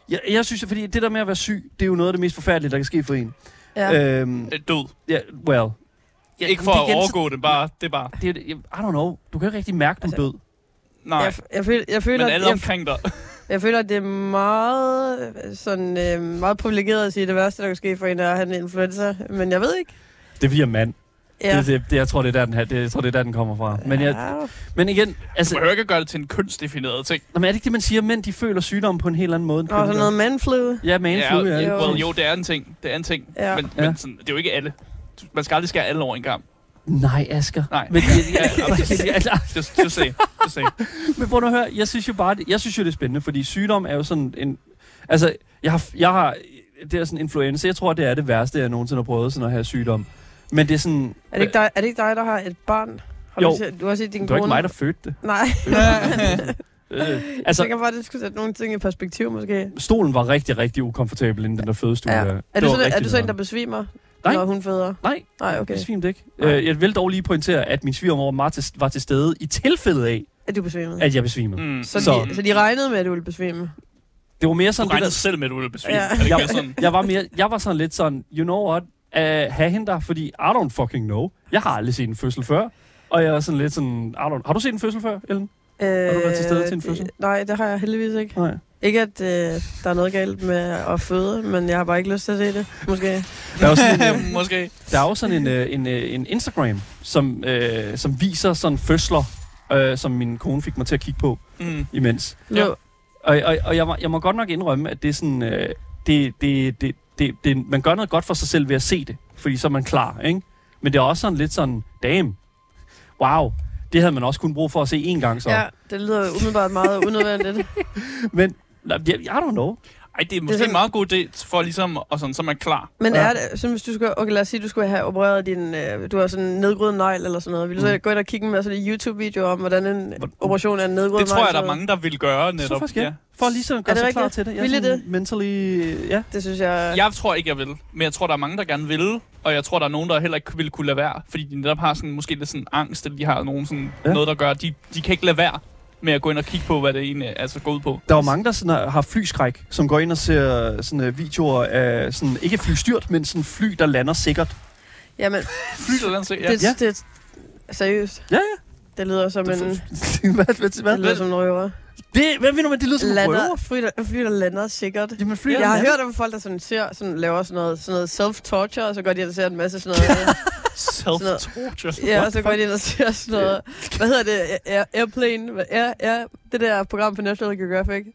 Speaker 2: Jeg, jeg synes, fordi det der med at være syg, det er jo noget af det mest forfærdelige, der kan ske for en.
Speaker 4: Ja.
Speaker 2: Ja. Øhm,
Speaker 3: Øh, Død.
Speaker 2: ja, well,
Speaker 3: Ja, ikke for
Speaker 2: det er
Speaker 3: at
Speaker 2: igen så-
Speaker 3: overgå det, bare, det er bare...
Speaker 2: det, er jo det- jeg- I don't know. Du kan jo ikke rigtig mærke, du er
Speaker 4: Altså,
Speaker 2: død.
Speaker 3: Nej,
Speaker 4: Jeg, f- jeg, føler, jeg, føler,
Speaker 3: men
Speaker 4: at,
Speaker 3: alle
Speaker 4: jeg,
Speaker 3: omkring dig.
Speaker 4: jeg føler, at det er meget, øh, sådan, øh, meget privilegeret at sige, at det værste, der kan ske for en, er at have en influenza. Men jeg ved ikke.
Speaker 2: Det er fordi, jeg er mand. Ja.
Speaker 4: Ja.
Speaker 2: Det, det, det, jeg tror, det er der, den, her, det, jeg tror, det er der, den kommer fra. Men, jeg,
Speaker 4: Ja.
Speaker 2: men igen,
Speaker 3: Du
Speaker 2: altså,
Speaker 3: behøver ikke at gøre det til en kønsdefineret ting.
Speaker 2: nå, men er det ikke det, man siger? Mænd, de føler sygdommen på en helt anden måde. end
Speaker 4: Nå, sådan
Speaker 2: kvinder
Speaker 4: noget manflu.
Speaker 2: gør? Ja, manflu, ja.
Speaker 4: jo.
Speaker 2: ja.
Speaker 3: Well, jo, det er en ting. Det er en ting.
Speaker 4: Ja.
Speaker 3: Men,
Speaker 2: Ja.
Speaker 3: men sådan, det er jo ikke alle. Du- Man skal aldrig skære alle over en gang.
Speaker 2: Nej, Asger.
Speaker 3: Nej.
Speaker 2: Men,
Speaker 3: Ja,
Speaker 2: <laughs> altså,
Speaker 3: Just, just say. Just
Speaker 4: <laughs>
Speaker 3: say.
Speaker 2: Men prøv nu at høre, jeg synes jo bare, det- jeg synes jo, det er spændende, fordi sygdom er jo sådan en... Altså, jeg har, jeg har det er sådan influenza. Jeg tror, det er det værste, jeg nogensinde har prøvet, sådan at have sygdom. Men det er sådan...
Speaker 4: Er det ikke dig, er det ikke dig der har et barn? Har
Speaker 2: Jo.
Speaker 4: Du, set, du har set din
Speaker 2: det
Speaker 4: kone?
Speaker 2: var ikke mig, der fødte
Speaker 4: <laughs>
Speaker 2: det.
Speaker 4: Nej,
Speaker 2: Øh,
Speaker 4: altså,
Speaker 2: altså,
Speaker 4: jeg kan bare, det skulle sætte nogle ting i perspektiv, måske. Ja.
Speaker 2: stolen var rigtig, rigtig ukomfortabel inden den der fødestue. der. Det
Speaker 4: Er, du
Speaker 2: var
Speaker 4: sådan, er
Speaker 2: rigtig
Speaker 4: du sådan en, der
Speaker 2: nederen.
Speaker 4: besvimer,
Speaker 2: Nej.
Speaker 4: når hun føder?
Speaker 2: Nej,
Speaker 4: Nej, okay.
Speaker 2: det svimte ikke.
Speaker 4: Nej.
Speaker 2: Øh, jeg vil dog lige pointere, at min svigermor var til, var til stede i tilfælde af,
Speaker 4: Er du besvimet?
Speaker 2: at jeg besvimede. Mm.
Speaker 3: Mm.
Speaker 4: Så,
Speaker 2: Så-
Speaker 4: de, så de regnede med, at du ville besvime?
Speaker 2: Det var mere
Speaker 3: Du
Speaker 2: sådan... det
Speaker 3: regnede
Speaker 2: der-
Speaker 3: selv med, at du ville besvime.
Speaker 4: Ja.
Speaker 3: Er det ikke mere sådan?
Speaker 2: jeg, jeg, var mere, jeg var sådan lidt sådan, you know what, uh, have hende der, fordi I don't fucking know. Jeg har aldrig set en fødsel før. Og jeg var sådan lidt sådan, I don't, har du set en fødsel før, Ellen?
Speaker 4: Øh, har
Speaker 2: du været til stede til en fødsel?
Speaker 4: Nej, det har jeg heldigvis ikke.
Speaker 2: Nej.
Speaker 4: Ikke, at øh, der er noget galt med at føde, men jeg har bare ikke lyst til at se det, måske.
Speaker 2: Der er jo
Speaker 3: <laughs>
Speaker 2: sådan, en, øh,
Speaker 3: Mm, Måske.
Speaker 2: der er jo sådan en, øh, en, øh, en Instagram, som, øh, som viser sådan fødsler, øh, som min kone fik mig til at kigge på
Speaker 3: Mm.
Speaker 2: imens.
Speaker 3: Ja.
Speaker 4: Jo.
Speaker 2: Og, og, og jeg, må, jeg må godt nok indrømme, at det er sådan... Øh, det, det, det, det, det, man gør noget godt for sig selv ved at se det, fordi så er man klar, ikke? Men det er også sådan lidt sådan, damn, wow, det havde man også kun brug for at se én gang så.
Speaker 4: ja, det lyder umiddelbart meget
Speaker 2: <laughs>
Speaker 4: unødvendigt.
Speaker 2: Men, nej, jeg, I don't know.
Speaker 3: Ej, det er måske det er
Speaker 4: sådan-
Speaker 3: en meget god idé for ligesom, og sådan, så er man klar.
Speaker 4: Men
Speaker 2: Ja.
Speaker 4: er det, så hvis du skulle, okay, lad os sige, du skulle have opereret din, øh, du har sådan en nedgrødet negl eller sådan noget. Vil du så gå ind og kigge med sådan en YouTube-video om, hvordan en
Speaker 2: Hvordan-
Speaker 4: operation af en nedgrødet
Speaker 3: Det tror jeg,
Speaker 4: negl
Speaker 3: der
Speaker 4: ser
Speaker 3: er
Speaker 4: ud?
Speaker 3: mange, der vil gøre
Speaker 2: Netop, så
Speaker 3: netop.
Speaker 2: faktisk, ja. For lige sådan at
Speaker 4: Er
Speaker 2: gøre
Speaker 4: det
Speaker 2: sig klar
Speaker 4: rigtigt?
Speaker 2: til det. Jeg
Speaker 4: Ville
Speaker 2: er sådan mentally, ja.
Speaker 4: Det synes jeg...
Speaker 3: Jeg tror ikke, jeg vil. Men jeg tror, der er mange, der gerne vil. Og jeg tror, der er nogen, der heller ikke vil kunne lade være. Fordi de netop har sådan, måske lidt sådan angst, eller de har nogen sådan,
Speaker 2: Ja.
Speaker 3: ja. noget, der gør, at de, de kan ikke lade være med at gå ind og kigge på, hvad det egentlig altså, går ud på.
Speaker 2: Der er jo mange, der sådan har, har flyskræk, som går ind og ser sådan, uh, videoer af, sådan, ikke flystyrt, men sådan fly, der lander sikkert.
Speaker 4: Jamen,
Speaker 3: Fly eller andet, så- ja.
Speaker 4: det,
Speaker 2: Ja.
Speaker 4: det, det, seriøst.
Speaker 2: Ja, ja.
Speaker 4: Det lyder som
Speaker 2: <laughs>
Speaker 4: en...
Speaker 2: hvad, hvad,
Speaker 4: Det lyder
Speaker 2: hvad?
Speaker 4: som en røver.
Speaker 2: Det, hvad mener man, det lyder som en
Speaker 4: Lander,
Speaker 2: røver?
Speaker 4: fly, der, fly, der lander sikkert.
Speaker 2: Jamen, fly,
Speaker 4: Jeg har hørt om folk, der sådan, ser, sådan, laver sådan noget, sådan noget self-torture, og så går de ind og ser en masse sådan noget.
Speaker 3: Self-torture.
Speaker 4: ja, og så går de ind og ser sådan noget. Hvad hedder det? Air, airplane? Hvad- Air, air, det der program på National Geographic.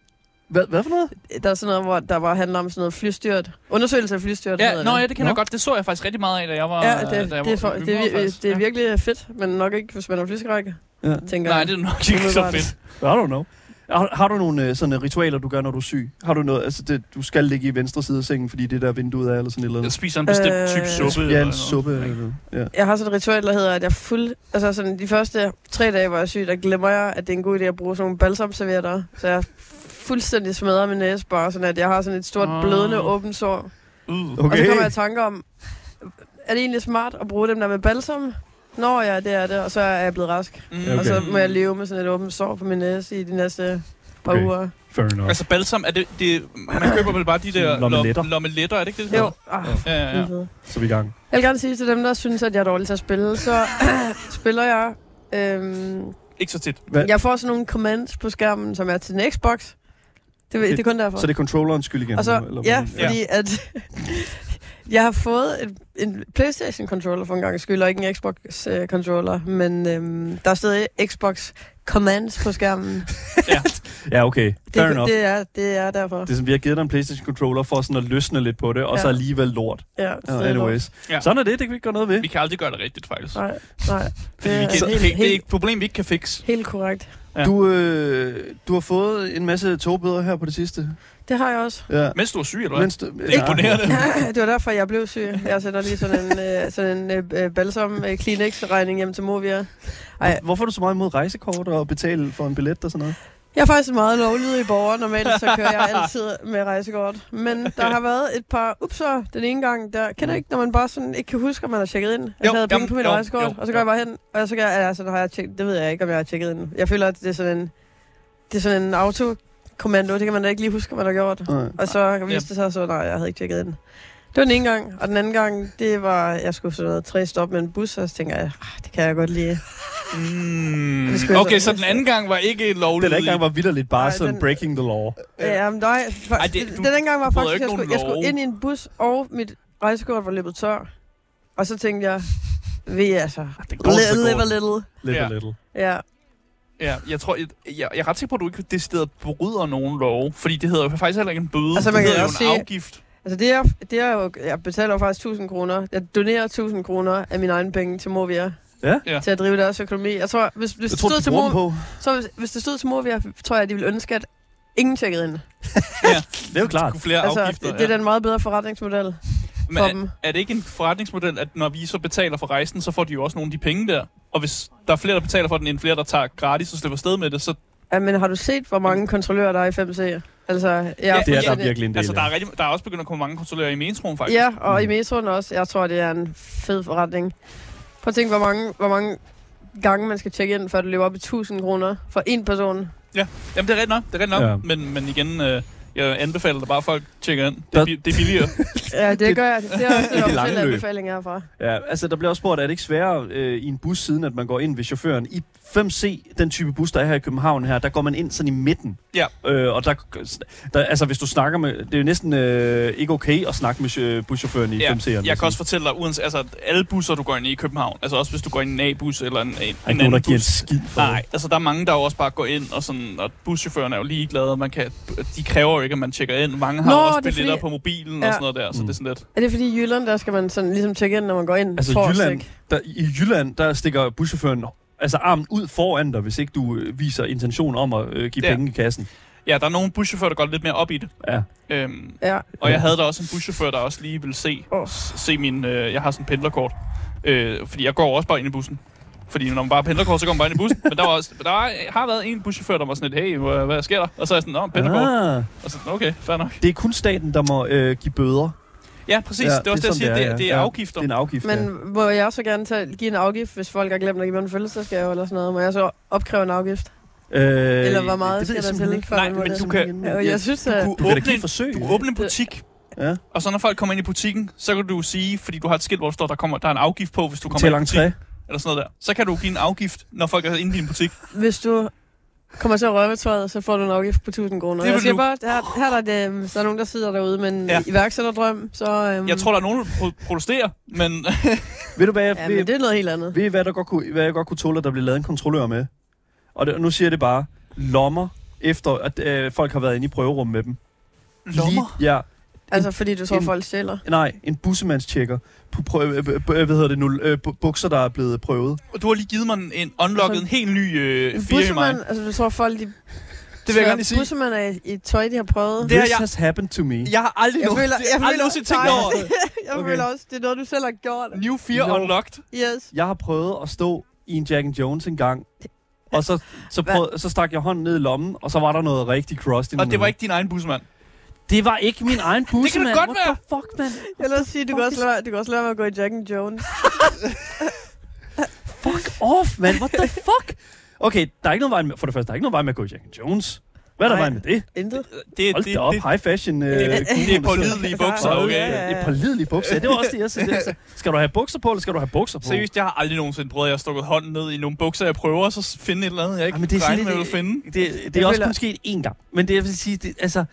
Speaker 2: Hvad, hvad for noget?
Speaker 4: Der er sådan noget, hvor der bare handler om sådan noget flystyrt. Undersøgelse af flystyrt. hedder
Speaker 3: Ja,
Speaker 4: det.
Speaker 3: nå, ja, det kender
Speaker 2: Nå.
Speaker 3: jeg godt. Det så jeg faktisk rigtig meget af, da jeg var...
Speaker 4: Ja,
Speaker 3: da jeg
Speaker 4: det, det,
Speaker 3: var
Speaker 4: det, er, for,
Speaker 3: yngre,
Speaker 4: det, er, vir-
Speaker 3: faktisk.
Speaker 4: det er
Speaker 3: Ja.
Speaker 4: virkelig fedt, men nok ikke, hvis man er flyskrække,
Speaker 2: Ja.
Speaker 4: tænker
Speaker 3: Nej,
Speaker 4: jeg.
Speaker 3: det er nok ikke så
Speaker 4: Umiddelbart.
Speaker 3: fedt.
Speaker 2: I don't know. Har, har du nogle øh, sådan, øh, ritualer, du gør, når du er syg? Har du noget, altså det, du skal ligge i venstre side af sengen, fordi det der vinduet er, eller sådan et eller
Speaker 3: Jeg
Speaker 2: andet?
Speaker 3: spiser en bestemt
Speaker 4: Øh,
Speaker 3: type suppe.
Speaker 2: Ja,
Speaker 3: eller
Speaker 2: en
Speaker 3: noget.
Speaker 2: suppe. Eller, ja.
Speaker 4: Jeg har sådan et ritual, der hedder, at jeg fuld... Altså sådan de første tre dage, hvor jeg er syg, der glemmer jeg, at det er en god idé at bruge sådan nogle balsamservietter. Så jeg fuldstændig smadrer min næse bare, sådan at jeg har sådan et stort
Speaker 3: Ah.
Speaker 4: blødende åbent sår. Okay.
Speaker 3: Uh.
Speaker 4: Og så
Speaker 2: Okay.
Speaker 4: kommer jeg i tanke om, er det egentlig smart at bruge dem der med balsam? Nå ja, det er det, og så er jeg blevet rask. Okay.
Speaker 3: Mm.
Speaker 4: Og så må jeg leve med sådan et åbent sår på min næse i de næste par
Speaker 2: Okay.
Speaker 4: okay. uger.
Speaker 2: Fair enough.
Speaker 3: Altså balsam, er det, det, man køber vel bare de der
Speaker 2: Sådan lommeletter.
Speaker 3: lo- lommeletter, er det ikke det? det
Speaker 4: Jo,
Speaker 3: hedder?
Speaker 4: ah,
Speaker 3: Ja, ja, ja.
Speaker 4: helvede.
Speaker 2: Så er vi i gang.
Speaker 4: Jeg vil gerne sige til dem, der synes, at jeg er dårlig til at spille, så <clears throat> spiller jeg. Øhm,
Speaker 3: Ikke så tit.
Speaker 2: Hvad?
Speaker 4: jeg får sådan nogle commands på skærmen, som er til en Xbox. Det, det, det er kun derfor.
Speaker 2: Så det er controllerens skyld igen?
Speaker 4: og så,
Speaker 2: eller
Speaker 4: ja,
Speaker 2: hvordan?
Speaker 4: fordi at <laughs> jeg har fået en, en PlayStation-controller for en gang skyld, og ikke en Xbox-controller, men øhm, der er stadig Xbox commands på skærmen.
Speaker 2: ja, okay. Fair
Speaker 4: Det,
Speaker 2: enough.
Speaker 4: det, er, det er derfor.
Speaker 2: Det er som, vi har givet dig en PlayStation controller for sådan at løsne lidt på det, og
Speaker 4: Ja.
Speaker 2: så alligevel lort.
Speaker 4: Ja,
Speaker 2: Uh,
Speaker 4: så er det lort.
Speaker 2: anyways.
Speaker 3: Ja.
Speaker 2: Sådan er det, det kan vi ikke gøre noget ved.
Speaker 3: Vi kan aldrig gøre det rigtigt, faktisk.
Speaker 4: Nej, nej.
Speaker 3: Fordi vi
Speaker 4: Det
Speaker 3: kan,
Speaker 4: er
Speaker 3: <laughs> det,
Speaker 4: helt,
Speaker 3: det er
Speaker 4: helt,
Speaker 3: et problem, vi ikke kan fikse.
Speaker 4: helt korrekt.
Speaker 3: Ja.
Speaker 2: Du, øh, du har fået en masse togbøder her på det sidste.
Speaker 4: Det har jeg også.
Speaker 2: Ja.
Speaker 3: Mens du er syg, eller hvad?
Speaker 2: Mens du,
Speaker 3: Det er imponerende.
Speaker 4: det var derfor, jeg blev syg. Jeg sætter lige sådan en, øh, sådan en øh, øh, balsam øh, Kleenex-regning hjem til Movia. Ej.
Speaker 2: Hvorfor er du så meget imod rejsekort og betale for en billet og sådan noget?
Speaker 4: Jeg er faktisk en meget lovlydig borger. Normalt så kører jeg altid med rejsekort. Men der har været et par upser den ene gang. Der kender I ikke, når man bare sådan ikke kan huske, om man har tjekket ind. Altså,
Speaker 3: Jo,
Speaker 4: jeg havde penge
Speaker 3: jamen,
Speaker 4: på mit
Speaker 3: jo,
Speaker 4: rejsekort,
Speaker 3: jo,
Speaker 4: og så går
Speaker 3: jo.
Speaker 4: jeg bare hen. Og så, gør jeg, altså, der har jeg tjekket, det ved jeg ikke, om jeg har tjekket ind. Jeg føler, at det er sådan en, det er sådan en autokommando. Det kan man da ikke lige huske, hvad man har gjort.
Speaker 2: Nej.
Speaker 4: Og så viste det sig så, nej, jeg havde ikke tjekket den. Det var den ene gang, og den anden gang, det var, jeg skulle sådan noget tre stop med en bus, og så tænker jeg, "Ah, det kan jeg godt lide.
Speaker 3: Mm.
Speaker 4: Det skulle jeg
Speaker 3: Okay,
Speaker 4: så-
Speaker 3: så den anden gang var ikke lovlig.
Speaker 2: Den der gang var vidderligt bare
Speaker 4: Nej,
Speaker 2: sådan
Speaker 4: den-
Speaker 2: breaking the law.
Speaker 4: Ja, men nej,
Speaker 3: Ej,
Speaker 4: fa-
Speaker 3: det- du
Speaker 4: den anden gang var
Speaker 3: bryder
Speaker 4: faktisk,
Speaker 3: ikke
Speaker 4: jeg skulle,
Speaker 3: nogen
Speaker 4: jeg skulle
Speaker 3: love.
Speaker 4: ind i en bus, og mit rejsekort var løbet tør. Og så tænkte jeg, ved jeg altså, så,
Speaker 2: Det
Speaker 4: live live a little.
Speaker 2: Little,
Speaker 3: Ja.
Speaker 2: little.
Speaker 4: Ja,
Speaker 3: Ja, jeg tror, jeg, jeg, jeg er ret sikker på, at du ikke decideret bryder nogen lov. Fordi det hedder jo faktisk heller ikke en bøde.
Speaker 4: Altså, man
Speaker 3: det
Speaker 4: kan
Speaker 3: hedder jo en
Speaker 4: også sige-
Speaker 3: afgift.
Speaker 4: altså det er, det er jo, jeg betaler jo faktisk 1000 kroner. Jeg donerer 1000 kroner af mine egne penge til Movia.
Speaker 2: Ja?
Speaker 3: Ja.
Speaker 4: Til at drive deres økonomi. Jeg tror, hvis, hvis
Speaker 2: Jeg
Speaker 4: det
Speaker 2: tror,
Speaker 4: stod
Speaker 2: du
Speaker 4: til
Speaker 2: bruger
Speaker 4: Mo-
Speaker 2: dem på.
Speaker 4: Så hvis, hvis det stod til Movia, tror jeg, at de ville ønske, at ingen tjekkede ind.
Speaker 2: Det er jo klart.
Speaker 3: Skulle flere
Speaker 4: Altså,
Speaker 3: afgifter.
Speaker 4: det, det er den meget bedre forretningsmodel for
Speaker 3: Men
Speaker 4: dem.
Speaker 3: er, er det ikke en forretningsmodel, at når vi så betaler for rejsen, så får de jo også nogle af de penge der? Og hvis der er flere, der betaler for den, end flere, der tager gratis og slipper sted med det, så
Speaker 4: Ja, men har du set, hvor mange kontrollører der er i 5C? Altså, jeg
Speaker 3: Ja,
Speaker 2: Det er der
Speaker 4: fuldstændig-
Speaker 2: virkelig en del
Speaker 3: altså, der,
Speaker 2: af.
Speaker 3: er rigtig, der er også begyndt at komme mange kontrollører i metroen, faktisk.
Speaker 4: Ja, og i
Speaker 2: Mm.
Speaker 4: metroen også. Jeg tror, det er en fed forretning. Prøv at tænke, hvor mange, hvor mange gange man skal tjekke ind, før det løber op i 1000 kroner for en person.
Speaker 3: Jamen, det er rigtigt nok. Det er rigtigt nok.
Speaker 2: Ja.
Speaker 3: Ja. Men, men igen, øh, jeg anbefaler dig bare, at folk tjekker ind. Det,
Speaker 2: Der-
Speaker 3: er bi- det er billigere.
Speaker 2: <laughs>
Speaker 4: Ja, det,
Speaker 2: Det-
Speaker 4: gør jeg. Det er også
Speaker 2: <laughs> det
Speaker 4: en
Speaker 2: lange
Speaker 4: officiel
Speaker 2: løb.
Speaker 4: anbefaling herfra.
Speaker 2: Ja, altså der bliver også spurgt, er det ikke sværere øh, i en bus siden, at man går ind ved chaufføren? I 5C, den type bus, der er her i København her, der går man ind sådan i midten.
Speaker 3: Ja.
Speaker 2: Øh, og der, der, altså hvis du snakker med, det er jo næsten øh, ikke okay at snakke med øh, buschaufføren i
Speaker 3: Ja,
Speaker 2: 5C'erne.
Speaker 3: jeg kan også fortælle dig, uanset, altså, alle busser, du går ind i i København, altså også hvis du går ind i en A-bus eller en, en, en
Speaker 2: ikke nogen, der
Speaker 3: anden
Speaker 2: giver en
Speaker 3: bus.
Speaker 2: skid for
Speaker 3: Nej, altså der er mange, der jo også bare går ind, og, sådan, og buschaufførerne er jo ligeglade, og man kan, de kræver jo ikke, at man tjekker ind. Mange har
Speaker 4: Nå,
Speaker 3: Nå, også
Speaker 4: det er fordi-
Speaker 3: billetter fordi... på mobilen ja.
Speaker 4: Ja.
Speaker 3: og sådan noget der, så
Speaker 2: Mm.
Speaker 3: mm. det er sådan lidt...
Speaker 4: Er det fordi i Jylland, der skal man sådan ligesom tjekke ind, når man går ind?
Speaker 2: Altså
Speaker 4: forrest,
Speaker 2: Jylland,
Speaker 4: ikke?
Speaker 2: der, i Jylland, der stikker buschaufføren altså armen ud foran dig, hvis ikke du øh, viser intention om at øh, give
Speaker 3: Ja.
Speaker 2: penge i kassen.
Speaker 3: Ja, der er nogle buschauffører, der går lidt mere op i det.
Speaker 2: Ja.
Speaker 3: Øhm,
Speaker 4: Ja,
Speaker 3: og jeg havde da også en buschauffør, der også lige ville se,
Speaker 4: Åh.
Speaker 3: oh. se min... Øh, jeg har sådan en pendlerkort. Øh, fordi jeg går også bare ind i bussen. Fordi når man bare har pendlerkort, så går man bare ind i bussen. Men der, var også, der var, har været en buschauffør, der var sådan lidt, hey, hvad, hvad sker der? Og så er jeg sådan, nå, pendlerkort.
Speaker 2: Ah,
Speaker 3: Og så sådan, okay, fair nok.
Speaker 2: det er kun staten, der må øh, give bøder.
Speaker 3: Ja, præcis. Ja, det er også det, jeg siger.
Speaker 2: sådan,
Speaker 3: Det, er,
Speaker 2: ja.
Speaker 3: det er
Speaker 2: Ja,
Speaker 3: afgifter.
Speaker 2: Det er en afgift, ja.
Speaker 4: Men må jeg så gerne tage, give en afgift, hvis folk har glemt at give mig en fødselsdagsgave eller sådan noget? Må jeg så opkræve en afgift?
Speaker 2: Øh,
Speaker 4: Eller hvor meget
Speaker 2: det ved jeg
Speaker 4: skal der
Speaker 2: simpelthen
Speaker 4: til,
Speaker 2: ikke.
Speaker 4: før
Speaker 3: Nej,
Speaker 4: man må
Speaker 3: men
Speaker 4: det?
Speaker 3: du kan-
Speaker 4: Ja, Jeg synes, at...
Speaker 2: Du kan
Speaker 3: kunne
Speaker 2: da give
Speaker 3: åbne,
Speaker 2: et forsøg.
Speaker 3: du kunne åbne en butik,
Speaker 2: Ja.
Speaker 3: og så når folk kommer ind i butikken, så kan du sige, fordi du har et skilt, hvor der står, der, kommer, der er en afgift på, hvis du kommer
Speaker 2: Til
Speaker 3: ind i butikken.
Speaker 2: entré.
Speaker 3: eller sådan noget der, så kan du give en afgift, når folk er inde i din butik.
Speaker 4: Hvis du kommer til at røre ved tøjet, så får du en afgift på 1000 kroner.
Speaker 3: Det vil
Speaker 4: Jeg siger
Speaker 3: du-
Speaker 4: bare, her, her er der, et, øhm, der er nogen, der sidder derude med en
Speaker 3: Ja.
Speaker 4: ja. iværksætterdrøm, så... Øhm,
Speaker 2: Mm.
Speaker 3: Jeg tror, der er nogen, der pro- protesterer,
Speaker 4: <laughs>
Speaker 3: men
Speaker 2: Ved du, hvad jeg,
Speaker 4: Ja,
Speaker 2: ved,
Speaker 4: men det er noget helt andet.
Speaker 2: ved, I, hvad, der godt kunne, hvad jeg godt kunne tåle, at der blev lavet en kontrollør med? Og det, nu siger jeg det bare. Lommer efter, at øh, folk har været inde i prøverummet med dem.
Speaker 3: lommer.
Speaker 2: Lige, ja,
Speaker 4: Altså, fordi du tror,
Speaker 2: en-
Speaker 4: folk stjæler.
Speaker 2: nej, en bussemandstjekker på prøve, øh, øh, hvad hedder det nu, øh, bu- bukser, der er blevet prøvet.
Speaker 3: <laughs> Du har lige givet mig en- en unlocket, en helt ny øh,
Speaker 4: Altså, En
Speaker 3: fire i mig.
Speaker 4: bussemand, altså du tror folk, de... Det
Speaker 3: Det vil jeg gerne lige sige.
Speaker 4: Bussemand er i- i tøj, de har prøvet.
Speaker 3: Det har
Speaker 2: This
Speaker 3: jeg-
Speaker 2: has happened to me.
Speaker 3: Jeg har aldrig,
Speaker 4: Jeg
Speaker 3: nogen-
Speaker 4: føler- jeg
Speaker 3: aldrig
Speaker 4: føler-
Speaker 3: nogensinde tænkt
Speaker 4: Nej.
Speaker 3: over det.
Speaker 4: <laughs> Jeg
Speaker 2: Okay.
Speaker 4: føler også, det er noget, du selv har gjort.
Speaker 3: New Fear
Speaker 2: No.
Speaker 3: Unlocked.
Speaker 4: Yes.
Speaker 2: Jeg har prøvet at stå i en Jack and Jones en gang, og så, så,
Speaker 4: Hvad?
Speaker 2: prøvede, så stak jeg hånden ned i lommen, og så var der noget rigtig crust i
Speaker 3: Og
Speaker 2: min
Speaker 3: det var
Speaker 2: hånd.
Speaker 3: ikke din egen busmand.
Speaker 2: det var ikke min egen bussemand.
Speaker 3: Det kan da godt
Speaker 2: What
Speaker 3: være.
Speaker 2: the fuck, man?
Speaker 4: Jeg vil også sige, du kan også, lade, være- du kan også lade mig at gå i Jack and Jones.
Speaker 2: Fuck off, man. What the
Speaker 3: <laughs>
Speaker 2: fuck? Okay, der er ikke noget vej med, for det første, der er ikke noget vej med at gå i Jack and Jones. Hvad er der vej
Speaker 4: Nej.
Speaker 2: med det?
Speaker 4: Intet.
Speaker 3: Det,
Speaker 2: Hold
Speaker 3: det,
Speaker 2: da op,
Speaker 3: det,
Speaker 2: high fashion. Øh,
Speaker 3: det, det er
Speaker 2: guldhorn,
Speaker 3: på
Speaker 2: der
Speaker 3: lidelige
Speaker 4: Ja,
Speaker 3: bukser,
Speaker 4: ja,
Speaker 3: okay?
Speaker 4: ja.
Speaker 2: sidder. Et par lidelige bukser. Ja, Det var også det, jeg sagde. Skal du have bukser på, eller skal du have bukser på?
Speaker 3: Seriøst, jeg har aldrig nogensinde prøvet, at jeg har stukket hånden ned i nogle bukser, jeg prøver, og så finde et eller andet, jeg ikke
Speaker 2: Jamen,
Speaker 3: Jamen,
Speaker 2: det er sådan
Speaker 3: regner med, at
Speaker 2: lidt-
Speaker 3: finde.
Speaker 2: Det, det er
Speaker 4: Jeg
Speaker 2: også
Speaker 4: føler-
Speaker 2: kun sket én gang. Men det, jeg vil sige, det, altså...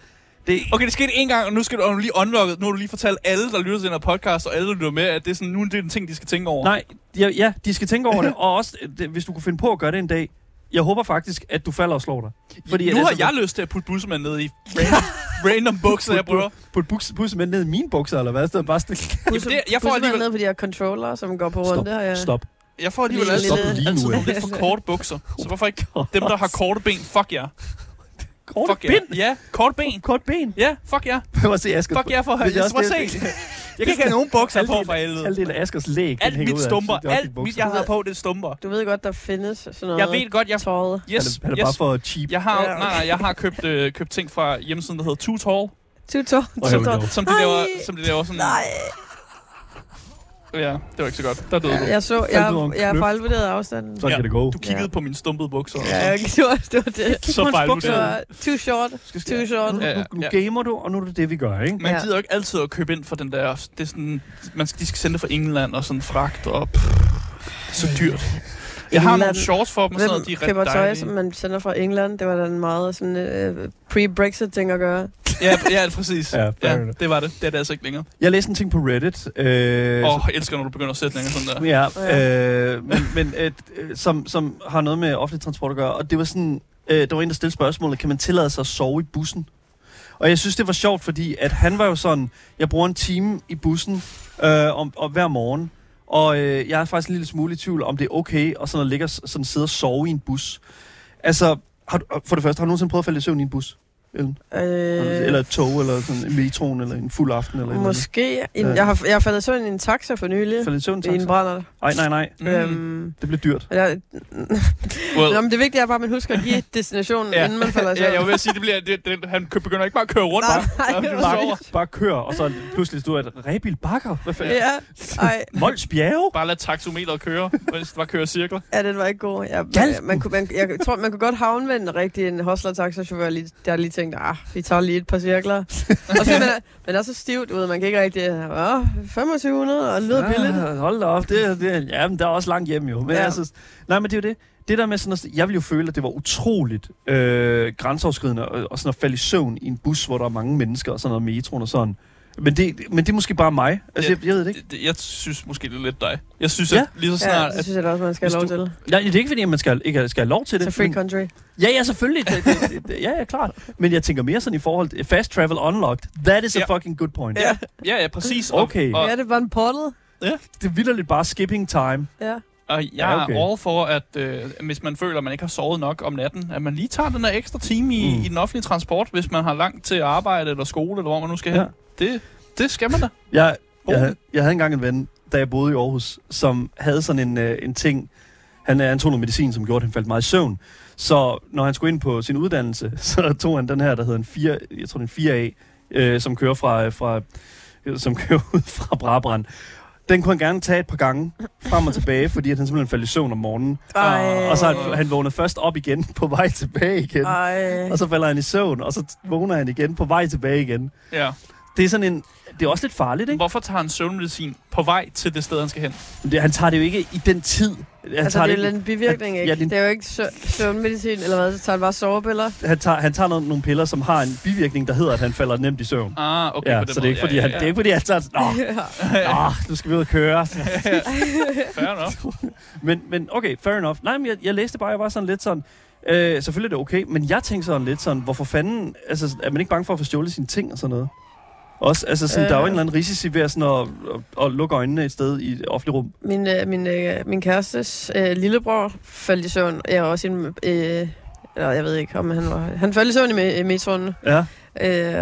Speaker 2: Det,
Speaker 3: Okay, det skete en gang, og nu skal du, og nu er du lige unlocket. Nu har du lige fortalt alle, der lytter til den her podcast, og alle, der lytter med, at det er sådan, nu er det en ting, de skal tænke over.
Speaker 2: Nej, ja, ja, de skal tænke over det. Og også, øh, det, hvis du kunne finde på at gøre det en dag, jeg håber faktisk, at du falder og slår dig. Fordi
Speaker 3: nu
Speaker 2: at
Speaker 3: har
Speaker 2: altså-
Speaker 3: jeg lyst til at putte bussemanden ned i random,
Speaker 2: <laughs>
Speaker 3: random bukser, jeg prøver.
Speaker 2: Put buks, busse med ned i mine bukser, eller hvad? Så bare stil. Stop,
Speaker 3: Jamen, det, jeg får
Speaker 4: alligevel...
Speaker 3: alligevel,
Speaker 4: ned på de her controller, som går på runde. og jeg-
Speaker 2: stop.
Speaker 3: jeg får alligevel Altså,
Speaker 4: Lige
Speaker 3: altid,
Speaker 4: lidt-
Speaker 3: altid
Speaker 2: Stop lige Oh, nu,
Speaker 3: nogle
Speaker 2: ja. <laughs>
Speaker 3: lidt for korte bukser. Så hvorfor ikke dem, der har korte ben? Fuck jer.
Speaker 2: Kort
Speaker 3: Fuck jer. Ja, korte ben.
Speaker 2: Kort
Speaker 3: <laughs>
Speaker 2: ben.
Speaker 3: Ja, fuck jer.
Speaker 2: Prøv at se Asger.
Speaker 3: Fuck jer for
Speaker 2: Men
Speaker 3: helvede.
Speaker 2: det er også
Speaker 3: Jeg må
Speaker 2: <laughs>
Speaker 3: se.
Speaker 2: det-
Speaker 3: Jeg kan ikke have nogen bukser på for helvede.
Speaker 2: Halvdelen af Askers læg,
Speaker 3: Alt mit stumper, alt mit, jeg
Speaker 4: Du
Speaker 3: har
Speaker 4: ved-
Speaker 3: på, det er stumper.
Speaker 4: Du ved godt, der findes sådan noget
Speaker 3: Jeg ved godt, jeg...
Speaker 4: tøjet.
Speaker 2: Yes,
Speaker 3: Yes,
Speaker 2: han er, han er bare
Speaker 3: yes.
Speaker 2: for cheap.
Speaker 3: Jeg har,
Speaker 4: Ja, okay.
Speaker 3: nej, nej, jeg har købt, øh, købt ting fra hjemmesiden, der hedder Tutor,
Speaker 4: Tutor.
Speaker 2: Oh, here we go.
Speaker 3: som de
Speaker 4: Ej.
Speaker 3: laver, som de laver sådan...
Speaker 4: Nej,
Speaker 3: Ja, det var ikke så godt. Der døde du.
Speaker 4: jeg så,
Speaker 2: Faldt
Speaker 4: jeg,
Speaker 2: ud over en
Speaker 4: jeg har
Speaker 2: kløft.
Speaker 4: fejlvurderet afstanden.
Speaker 2: Så
Speaker 3: Ja.
Speaker 2: kan det gå.
Speaker 3: Du kiggede på mine stumpede bukser.
Speaker 4: Ja, jeg gjorde det. var det.
Speaker 3: <laughs> Så fejl
Speaker 4: Det var too short, too short.
Speaker 2: Nu,
Speaker 3: Ja, ja,
Speaker 2: nu, nu
Speaker 3: ja.
Speaker 2: gamer du, og nu er det det, vi gør, ikke?
Speaker 3: Man
Speaker 4: Ja.
Speaker 3: gider jo ikke altid at købe ind for den der... Det er sådan, man skal, de skal sende det fra England og sådan fragt og... Pff, det er så dyrt. Jeg har nogle
Speaker 4: England.
Speaker 3: shorts for dem, og sådan
Speaker 4: Hvem
Speaker 3: noget, de er
Speaker 4: køber
Speaker 3: rigtig
Speaker 4: tøj,
Speaker 3: dejlige.
Speaker 4: som man sender fra England? Det var da en meget sådan, øh, pre-Brexit-ting at gøre.
Speaker 3: Ja, ja, præcis.
Speaker 2: Ja,
Speaker 3: Ja,
Speaker 2: fair
Speaker 3: ja,
Speaker 2: enough.
Speaker 3: det var det. Det er det altså ikke længere.
Speaker 2: Jeg læste en ting på Reddit. Øh,
Speaker 3: Åh, oh, jeg elsker, når du begynder sætninger sådan der.
Speaker 2: Ja,
Speaker 4: Ja.
Speaker 2: øh, men, men et, øh, som, som har noget med offentlig transport at gøre, og det var sådan, øh, der var en, der stillede spørgsmålet, kan man tillade sig at sove i bussen? Og jeg synes, det var sjovt, fordi at han var jo sådan, jeg bruger en time i bussen øh, om, om hver morgen, og øh, jeg er faktisk en lille smule i tvivl, om det er okay at sådan at ligge og s- sådan sidde og sove i en bus. Altså, har du, for det første, har du nogensinde prøvet at falde i søvn i en bus? Ellen?
Speaker 4: Øh,
Speaker 2: Eller et tog, eller sådan en metroen, eller en fuld aften, eller et eller andet?
Speaker 4: Måske. En,
Speaker 2: Ja.
Speaker 4: jeg, har, jeg har faldet sådan i en taxa for nylig.
Speaker 2: Falde i søvn,
Speaker 4: I en
Speaker 2: taxa?
Speaker 4: brænder.
Speaker 2: Nej, nej, nej.
Speaker 4: Mm. Øhm,
Speaker 2: Det blev dyrt.
Speaker 4: eller,
Speaker 3: Well,
Speaker 4: Nå, men det vigtige er bare, at man husker at
Speaker 3: <laughs>
Speaker 4: give destinationen,
Speaker 3: Ja.
Speaker 4: ja. inden man falder i søvn.
Speaker 3: ja, jeg vil sige, det bliver, det, det, han kø- begynder ikke bare at køre rundt.
Speaker 4: altså-
Speaker 3: bare.
Speaker 4: Nej, nej,
Speaker 3: Ja, men
Speaker 4: det
Speaker 3: du
Speaker 4: var
Speaker 3: sover.
Speaker 2: Bare, bare kør, og så pludselig stod jeg, Rebil Bakker? Hvad fanden?
Speaker 4: <laughs> Ja, ej,
Speaker 2: Mols Bjerge?
Speaker 3: Bare lad taxometeret køre, mens det bare kører cirkler.
Speaker 4: ja, den var ikke god. Ja, man,
Speaker 2: Galten.
Speaker 4: man, kunne, man, jeg tror, man kunne godt havnvende rigtig en hostler-taxachauffør, lige- der lige tænkte, ah, vi tager lige et par
Speaker 2: <laughs>
Speaker 4: cirkler. og så man, er- man er så stivt ud, man kan ikke rigtig, åh, 2500, og
Speaker 2: Ah,
Speaker 4: det lyder billigt.
Speaker 2: Ja, hold da op. Det, det, ja, men der er også langt hjem jo. Men ja.
Speaker 4: Ja.
Speaker 2: altså, nej, men det er jo det. Det der med sådan at, jeg ville jo føle, at det var utroligt øh, grænseoverskridende og, og sådan at falde i søvn i en bus, hvor der er mange mennesker og sådan noget metroen og sådan. Men det, men det er måske bare mig. Altså,
Speaker 3: Ja.
Speaker 2: jeg, jeg ved det ikke.
Speaker 3: Det, det, jeg synes måske, det er lidt dig. Jeg synes,
Speaker 2: Ja.
Speaker 3: ja. at lige så
Speaker 4: Ja,
Speaker 3: snart...
Speaker 4: det
Speaker 3: at,
Speaker 4: synes jeg da også, man skal have lov
Speaker 2: hvis
Speaker 4: til.
Speaker 2: Nej, det er ikke fordi, at man skal, ikke skal have lov til det.
Speaker 4: Så free
Speaker 2: men-
Speaker 4: country.
Speaker 2: Ja, ja, selvfølgelig. Det, det, det, det, ja, ja, klart. Men jeg tænker mere sådan i forhold til fast travel unlocked. That is a
Speaker 3: Ja.
Speaker 2: fucking good point.
Speaker 3: ja, ja, ja, præcis. Og,
Speaker 2: Okay.
Speaker 3: Og,
Speaker 4: Ja, det var en pottet.
Speaker 2: Det er vildt bare skipping time.
Speaker 4: Ja.
Speaker 3: og jeg
Speaker 2: Ja,
Speaker 3: ja,
Speaker 2: okay.
Speaker 3: okay. er all for, at øh, hvis man føler, at man ikke har sovet nok om natten, at man lige tager den der ekstra time i,
Speaker 2: Mm.
Speaker 3: mm. i den offentlige transport, hvis man har langt til arbejde eller skole, eller hvor man nu skal
Speaker 2: Ja.
Speaker 3: ja. hen. Det, det skal man da.
Speaker 2: Jeg, jeg,
Speaker 3: Roligt.
Speaker 2: havde- jeg havde engang en ven, da jeg boede i Aarhus, som havde sådan en, øh, en ting. Han, øh, han tog noget medicin, som gjorde, at han faldt meget i søvn. Så når han skulle ind på sin uddannelse, <laughs> så tog han den her, der hedder en 4, jeg tror det er en 4A, øh, som kører fra, øh, fra øh, som <laughs> kører ud fra Brabrand. Den kunne han gerne tage et par gange frem og tilbage, fordi at han simpelthen faldt i søvn om morgenen.
Speaker 4: Ej.
Speaker 2: Og så han, han vågnede først op igen på vej tilbage igen.
Speaker 4: Ej.
Speaker 2: Og så falder han i søvn, og så vågner han igen på vej tilbage igen.
Speaker 3: Ja.
Speaker 2: Det er sådan en... Det er også lidt farligt, ikke?
Speaker 3: Hvorfor tager han søvnmedicin på vej til det sted, han skal hen?
Speaker 2: Det, han tager det jo ikke i den tid. Han
Speaker 4: Altså,
Speaker 2: tager
Speaker 4: det er
Speaker 2: det,
Speaker 4: jo lidt
Speaker 2: ikke-
Speaker 4: en bivirkning,
Speaker 2: at- ja,
Speaker 4: ikke? Ja,
Speaker 2: det er en-
Speaker 4: Det er jo ikke sø- søvnmedicin eller hvad, så tager han bare sovepiller.
Speaker 2: han tager, han tager noget, nogle piller, som har en bivirkning, der hedder, at han falder nemt i søvn.
Speaker 3: Ah, okay,
Speaker 2: ja,
Speaker 3: på
Speaker 2: så
Speaker 3: den
Speaker 2: det er ikke,
Speaker 3: måde.
Speaker 2: fordi han, det er ikke, fordi han tager... Nå,
Speaker 3: <laughs>
Speaker 4: <laughs>
Speaker 2: nå, nu skal vi ud og køre.
Speaker 3: Fair nok.
Speaker 2: Men, men okay, fair enough. Nej, men jeg, jeg læste bare, jeg var sådan lidt sådan... Øh, selvfølgelig er det okay, men jeg tænkte sådan lidt sådan, hvorfor fanden... Altså, er man ikke bange for at få stjålet sine ting og sådan noget? Også, altså, sådan, øh.
Speaker 4: Øh.
Speaker 2: der er jo en eller anden risici ved at, sådan at, at, at lukke øjnene et sted i et offentligt rum.
Speaker 4: Min, øh, min, øh, min kærestes øh, lillebror faldt i søvn. Jeg var også en... Øh, eller jeg ved ikke, om han var... Han faldt i søvn i me- i metroen,
Speaker 2: Ja.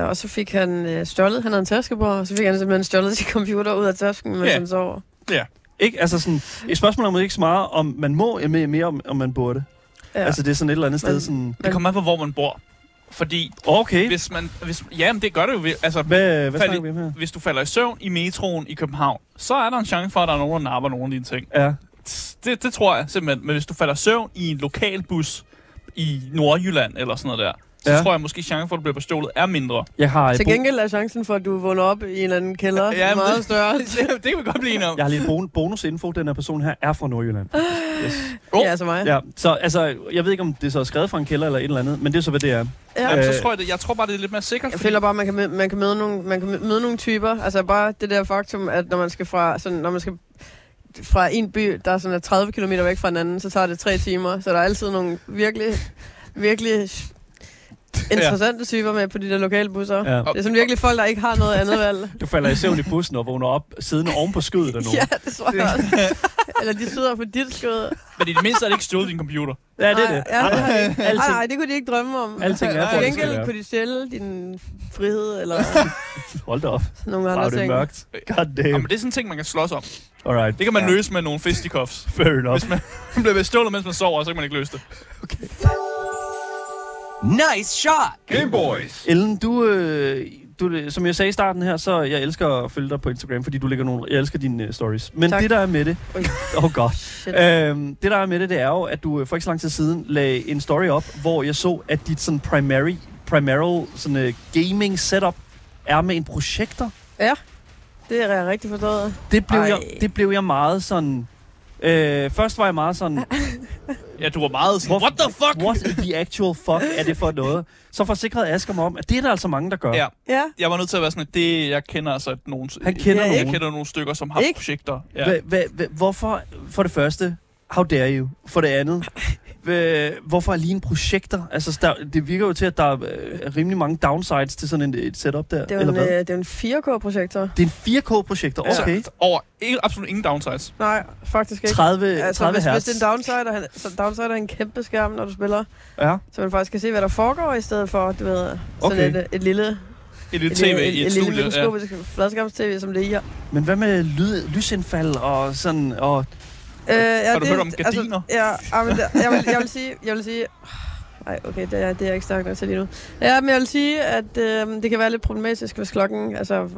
Speaker 4: øh, og så fik han øh, stjålet... Han havde en taske på, og så fik han simpelthen stjålet sin computer ud af tasken, mens
Speaker 3: Ja.
Speaker 4: han sover.
Speaker 2: Ikke? Altså sådan, et spørgsmål om ikke så meget, om man må, eller mere, mere om, om man burde.
Speaker 4: Ja.
Speaker 2: Ja. Altså, det er sådan et eller andet sted
Speaker 4: Men-
Speaker 2: sådan...
Speaker 3: Det kommer an på, hvor man bor. Fordi
Speaker 2: Okay,
Speaker 3: hvis man... Hvis, jamen, det gør det jo. ved- Altså,
Speaker 2: hvad, hvad
Speaker 3: Fald-
Speaker 2: snakker vi om her?
Speaker 3: hvis du falder i søvn i metroen i København, så er der en chance for, at der er nogen, der napper nogle af dine ting.
Speaker 2: Ja.
Speaker 3: Det, det tror jeg simpelthen. Men hvis du falder i søvn i en lokal bus i Nordjylland eller sådan noget der, så
Speaker 2: Ja.
Speaker 3: ja. tror jeg måske, chancen for, at du bliver bestjålet, er mindre.
Speaker 2: Jeg har, et
Speaker 4: Til
Speaker 2: bo-
Speaker 4: gengæld er chancen for, at du vågner op i en eller anden kælder
Speaker 3: Ja,
Speaker 4: ja,
Speaker 3: men-
Speaker 4: meget
Speaker 3: <laughs>
Speaker 4: større.
Speaker 3: det kan vi godt blive enige om.
Speaker 2: jeg har lidt bon- bonusinfo. Den her person her er fra Nordjylland. Yes.
Speaker 3: Oh.
Speaker 4: Ja, altså mig.
Speaker 2: Ja, så altså, jeg ved ikke, om det så er skrevet fra en kælder eller et eller andet, men det er så, hvad det er.
Speaker 4: Ja.
Speaker 3: Jamen, så
Speaker 2: Øh.
Speaker 3: tror jeg, det, jeg tror bare, det er lidt mere sikkert.
Speaker 4: Jeg
Speaker 3: fordi-
Speaker 4: føler bare, at man kan møde, man kan møde, nogle, man kan møde nogle typer. Altså bare det der faktum, at når man skal fra, sådan, når man skal fra en by, der er sådan er 30 km væk fra en anden, så tager det tre timer. Så der er altid nogle virkelig,
Speaker 2: <laughs>
Speaker 4: virkelig interessante ja. typer med på de der lokale busser. Ja.
Speaker 2: Ja.
Speaker 4: Det er sådan virkelig folk, der ikke har noget andet
Speaker 2: <laughs>
Speaker 4: valg.
Speaker 2: Du falder i søvn i bussen og vågner op siddende oven på skødet af nogen.
Speaker 4: ja, det tror jeg også.
Speaker 2: <laughs>
Speaker 4: Eller de sidder på dit skød.
Speaker 3: Men i det mindste er det ikke stjålet din computer.
Speaker 2: Ja, det er det.
Speaker 4: Ja, det har
Speaker 2: <laughs>
Speaker 4: de ikke. Nej,
Speaker 2: Alting,
Speaker 4: nej, det kunne de ikke drømme om.
Speaker 2: alting er,
Speaker 4: Til
Speaker 2: hvor det skal
Speaker 4: gengæld
Speaker 2: være.
Speaker 4: kunne de stjæle din frihed
Speaker 2: <laughs>
Speaker 4: eller
Speaker 2: Hold da op.
Speaker 4: nogle andre
Speaker 2: Wow, det er
Speaker 4: ting.
Speaker 2: mørkt. God damn.
Speaker 3: Jamen, det er sådan en ting, man kan slås om.
Speaker 2: Alright,
Speaker 3: Det kan man
Speaker 4: Ja.
Speaker 3: Øh. ja. løse med nogle fisticuffs.
Speaker 2: fair enough.
Speaker 3: Hvis man <laughs> bliver bestjålet, mens man sover, så kan man ikke løse det.
Speaker 5: Nice shot!
Speaker 1: Game Boys.
Speaker 2: Ellen, du, øh, du, som jeg sagde i starten her, så jeg elsker at følge dig på Instagram, fordi du lægger nogle, jeg elsker dine øh, stories. Men
Speaker 4: Tak.
Speaker 2: det, der er med det,
Speaker 4: Oj.
Speaker 2: oh god,
Speaker 4: Shit.
Speaker 2: Øhm, det der er med det, det er jo, at du øh, for ikke så lang tid siden lagde en story op, hvor jeg så, at dit sådan primary, primaral sådan, øh, gaming setup er med en projekter.
Speaker 4: Det er jeg rigtig forstået.
Speaker 2: Det blev,
Speaker 4: Ej.
Speaker 2: jeg, det blev jeg meget sådan... Øh, først var jeg meget
Speaker 4: <laughs>
Speaker 2: sådan,
Speaker 3: Ja, du var meget sådan, what the fuck?
Speaker 2: what the actual fuck er det for noget? Så forsikrede Asger mig om, at det er der altså mange, der gør.
Speaker 3: Ja.
Speaker 4: Ja.
Speaker 3: Jeg var nødt til at være sådan, at det, jeg kender altså nogle...
Speaker 2: Han kender
Speaker 4: Ja,
Speaker 2: ja,
Speaker 4: ikke?
Speaker 2: nogen.
Speaker 3: Jeg kender nogle stykker, som har
Speaker 4: Ikke?
Speaker 3: projekter. Ja.
Speaker 2: Hva, hva, hva, hvorfor, for det første, how dare you? For det andet, hva, hvorfor er lige en projekter? Altså, der, det virker jo til, at der er øh, er rimelig mange downsides til sådan en, et setup der,
Speaker 4: Det er jo
Speaker 2: eller
Speaker 4: en,
Speaker 2: hvad?
Speaker 4: øh, det er jo en 4K-projektor.
Speaker 2: Det er en 4K-projekter, okay.
Speaker 3: Så, over ikke, absolut ingen downsides.
Speaker 4: Nej, faktisk ikke.
Speaker 2: 30,
Speaker 4: altså,
Speaker 2: 30
Speaker 4: hvis,
Speaker 2: hertz.
Speaker 4: hvis det er en downsider, han, så downsider er en kæmpe skærm, når du spiller.
Speaker 2: ja.
Speaker 4: Så man faktisk kan se, hvad der foregår, i stedet for, du ved, sådan
Speaker 2: Okay.
Speaker 4: et, øh, et lille,
Speaker 3: Et lille
Speaker 4: et,
Speaker 3: tv
Speaker 4: lille,
Speaker 3: i et,
Speaker 4: et, lille
Speaker 3: studie. Ja.
Speaker 4: mikroskopisk ja. fladskærms-tv, som det er i her.
Speaker 2: Men hvad med lyd, lysindfald og sådan... Og,
Speaker 4: Øh, ja,
Speaker 3: Har du hørt om gardiner?
Speaker 4: Altså, ja, ah, men, der- jeg, vil, jeg vil sige... Jeg vil sige nej, okay, det er, det er jeg ikke stærk nok til lige nu. Ja, men jeg vil sige, at øh, det kan være lidt problematisk, hvis klokken... Altså,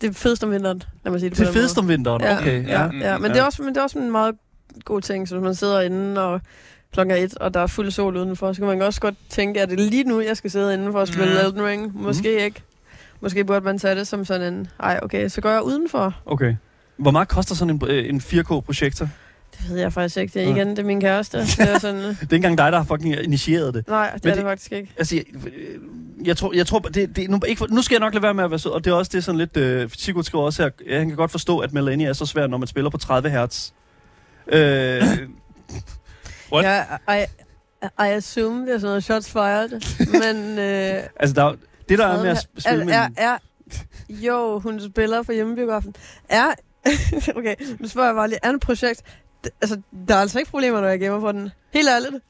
Speaker 4: det er fedest om vinteren, lad mig sige det
Speaker 2: det er
Speaker 4: på den måde.
Speaker 2: fedest om vinteren,
Speaker 4: Ja,
Speaker 2: okay.
Speaker 4: Ja,
Speaker 2: Ja.
Speaker 3: Mm,
Speaker 4: ja. Men,
Speaker 2: ja.
Speaker 4: Det er også, men det er også en meget god ting, så hvis man sidder inde og klokken er et, og der er fuld sol udenfor, så kan man også godt tænke, at det lige nu, jeg skal sidde indenfor og spille
Speaker 3: Mm.
Speaker 4: Elden Ring? Måske ikke. Måske burde man tage det som sådan en, ej okay, så går jeg udenfor.
Speaker 2: okay. Hvor meget koster sådan en, øh, en 4K-projektor?
Speaker 4: Det ved jeg faktisk ikke. Det er
Speaker 3: Mm.
Speaker 2: Nej.
Speaker 4: igen, det er min
Speaker 3: <laughs>
Speaker 4: kæreste. Det er sådan, øh,
Speaker 2: Det er ikke engang dig, der har fucking initieret det.
Speaker 4: nej, det
Speaker 2: Men
Speaker 4: er det
Speaker 2: det-
Speaker 4: faktisk ikke.
Speaker 2: Altså, jeg, øh, jeg tror, jeg tror det, det, nu, ikke, for- nu skal jeg nok lade være med at være sød, og det er også det er sådan lidt, øh, Sigurd skriver også her, ja, han kan godt forstå, at Melania er så svær, når man spiller på 30 hertz.
Speaker 4: <laughs>
Speaker 2: Øh,
Speaker 3: What?
Speaker 4: Jeg, I, I assume, det er sådan noget
Speaker 3: <laughs>
Speaker 4: shots fired, men... Øh,
Speaker 2: altså, der, er jo- det der er med at sp-
Speaker 4: er,
Speaker 2: spille med
Speaker 4: er,
Speaker 2: en,
Speaker 4: er, Jo, hun spiller for hjemmebiografen. Er... <laughs> okay, nu spørger jeg bare lige. Er en projekt... D- altså, der er altså ikke problemer, når jeg gemmer på den. Helt ærligt.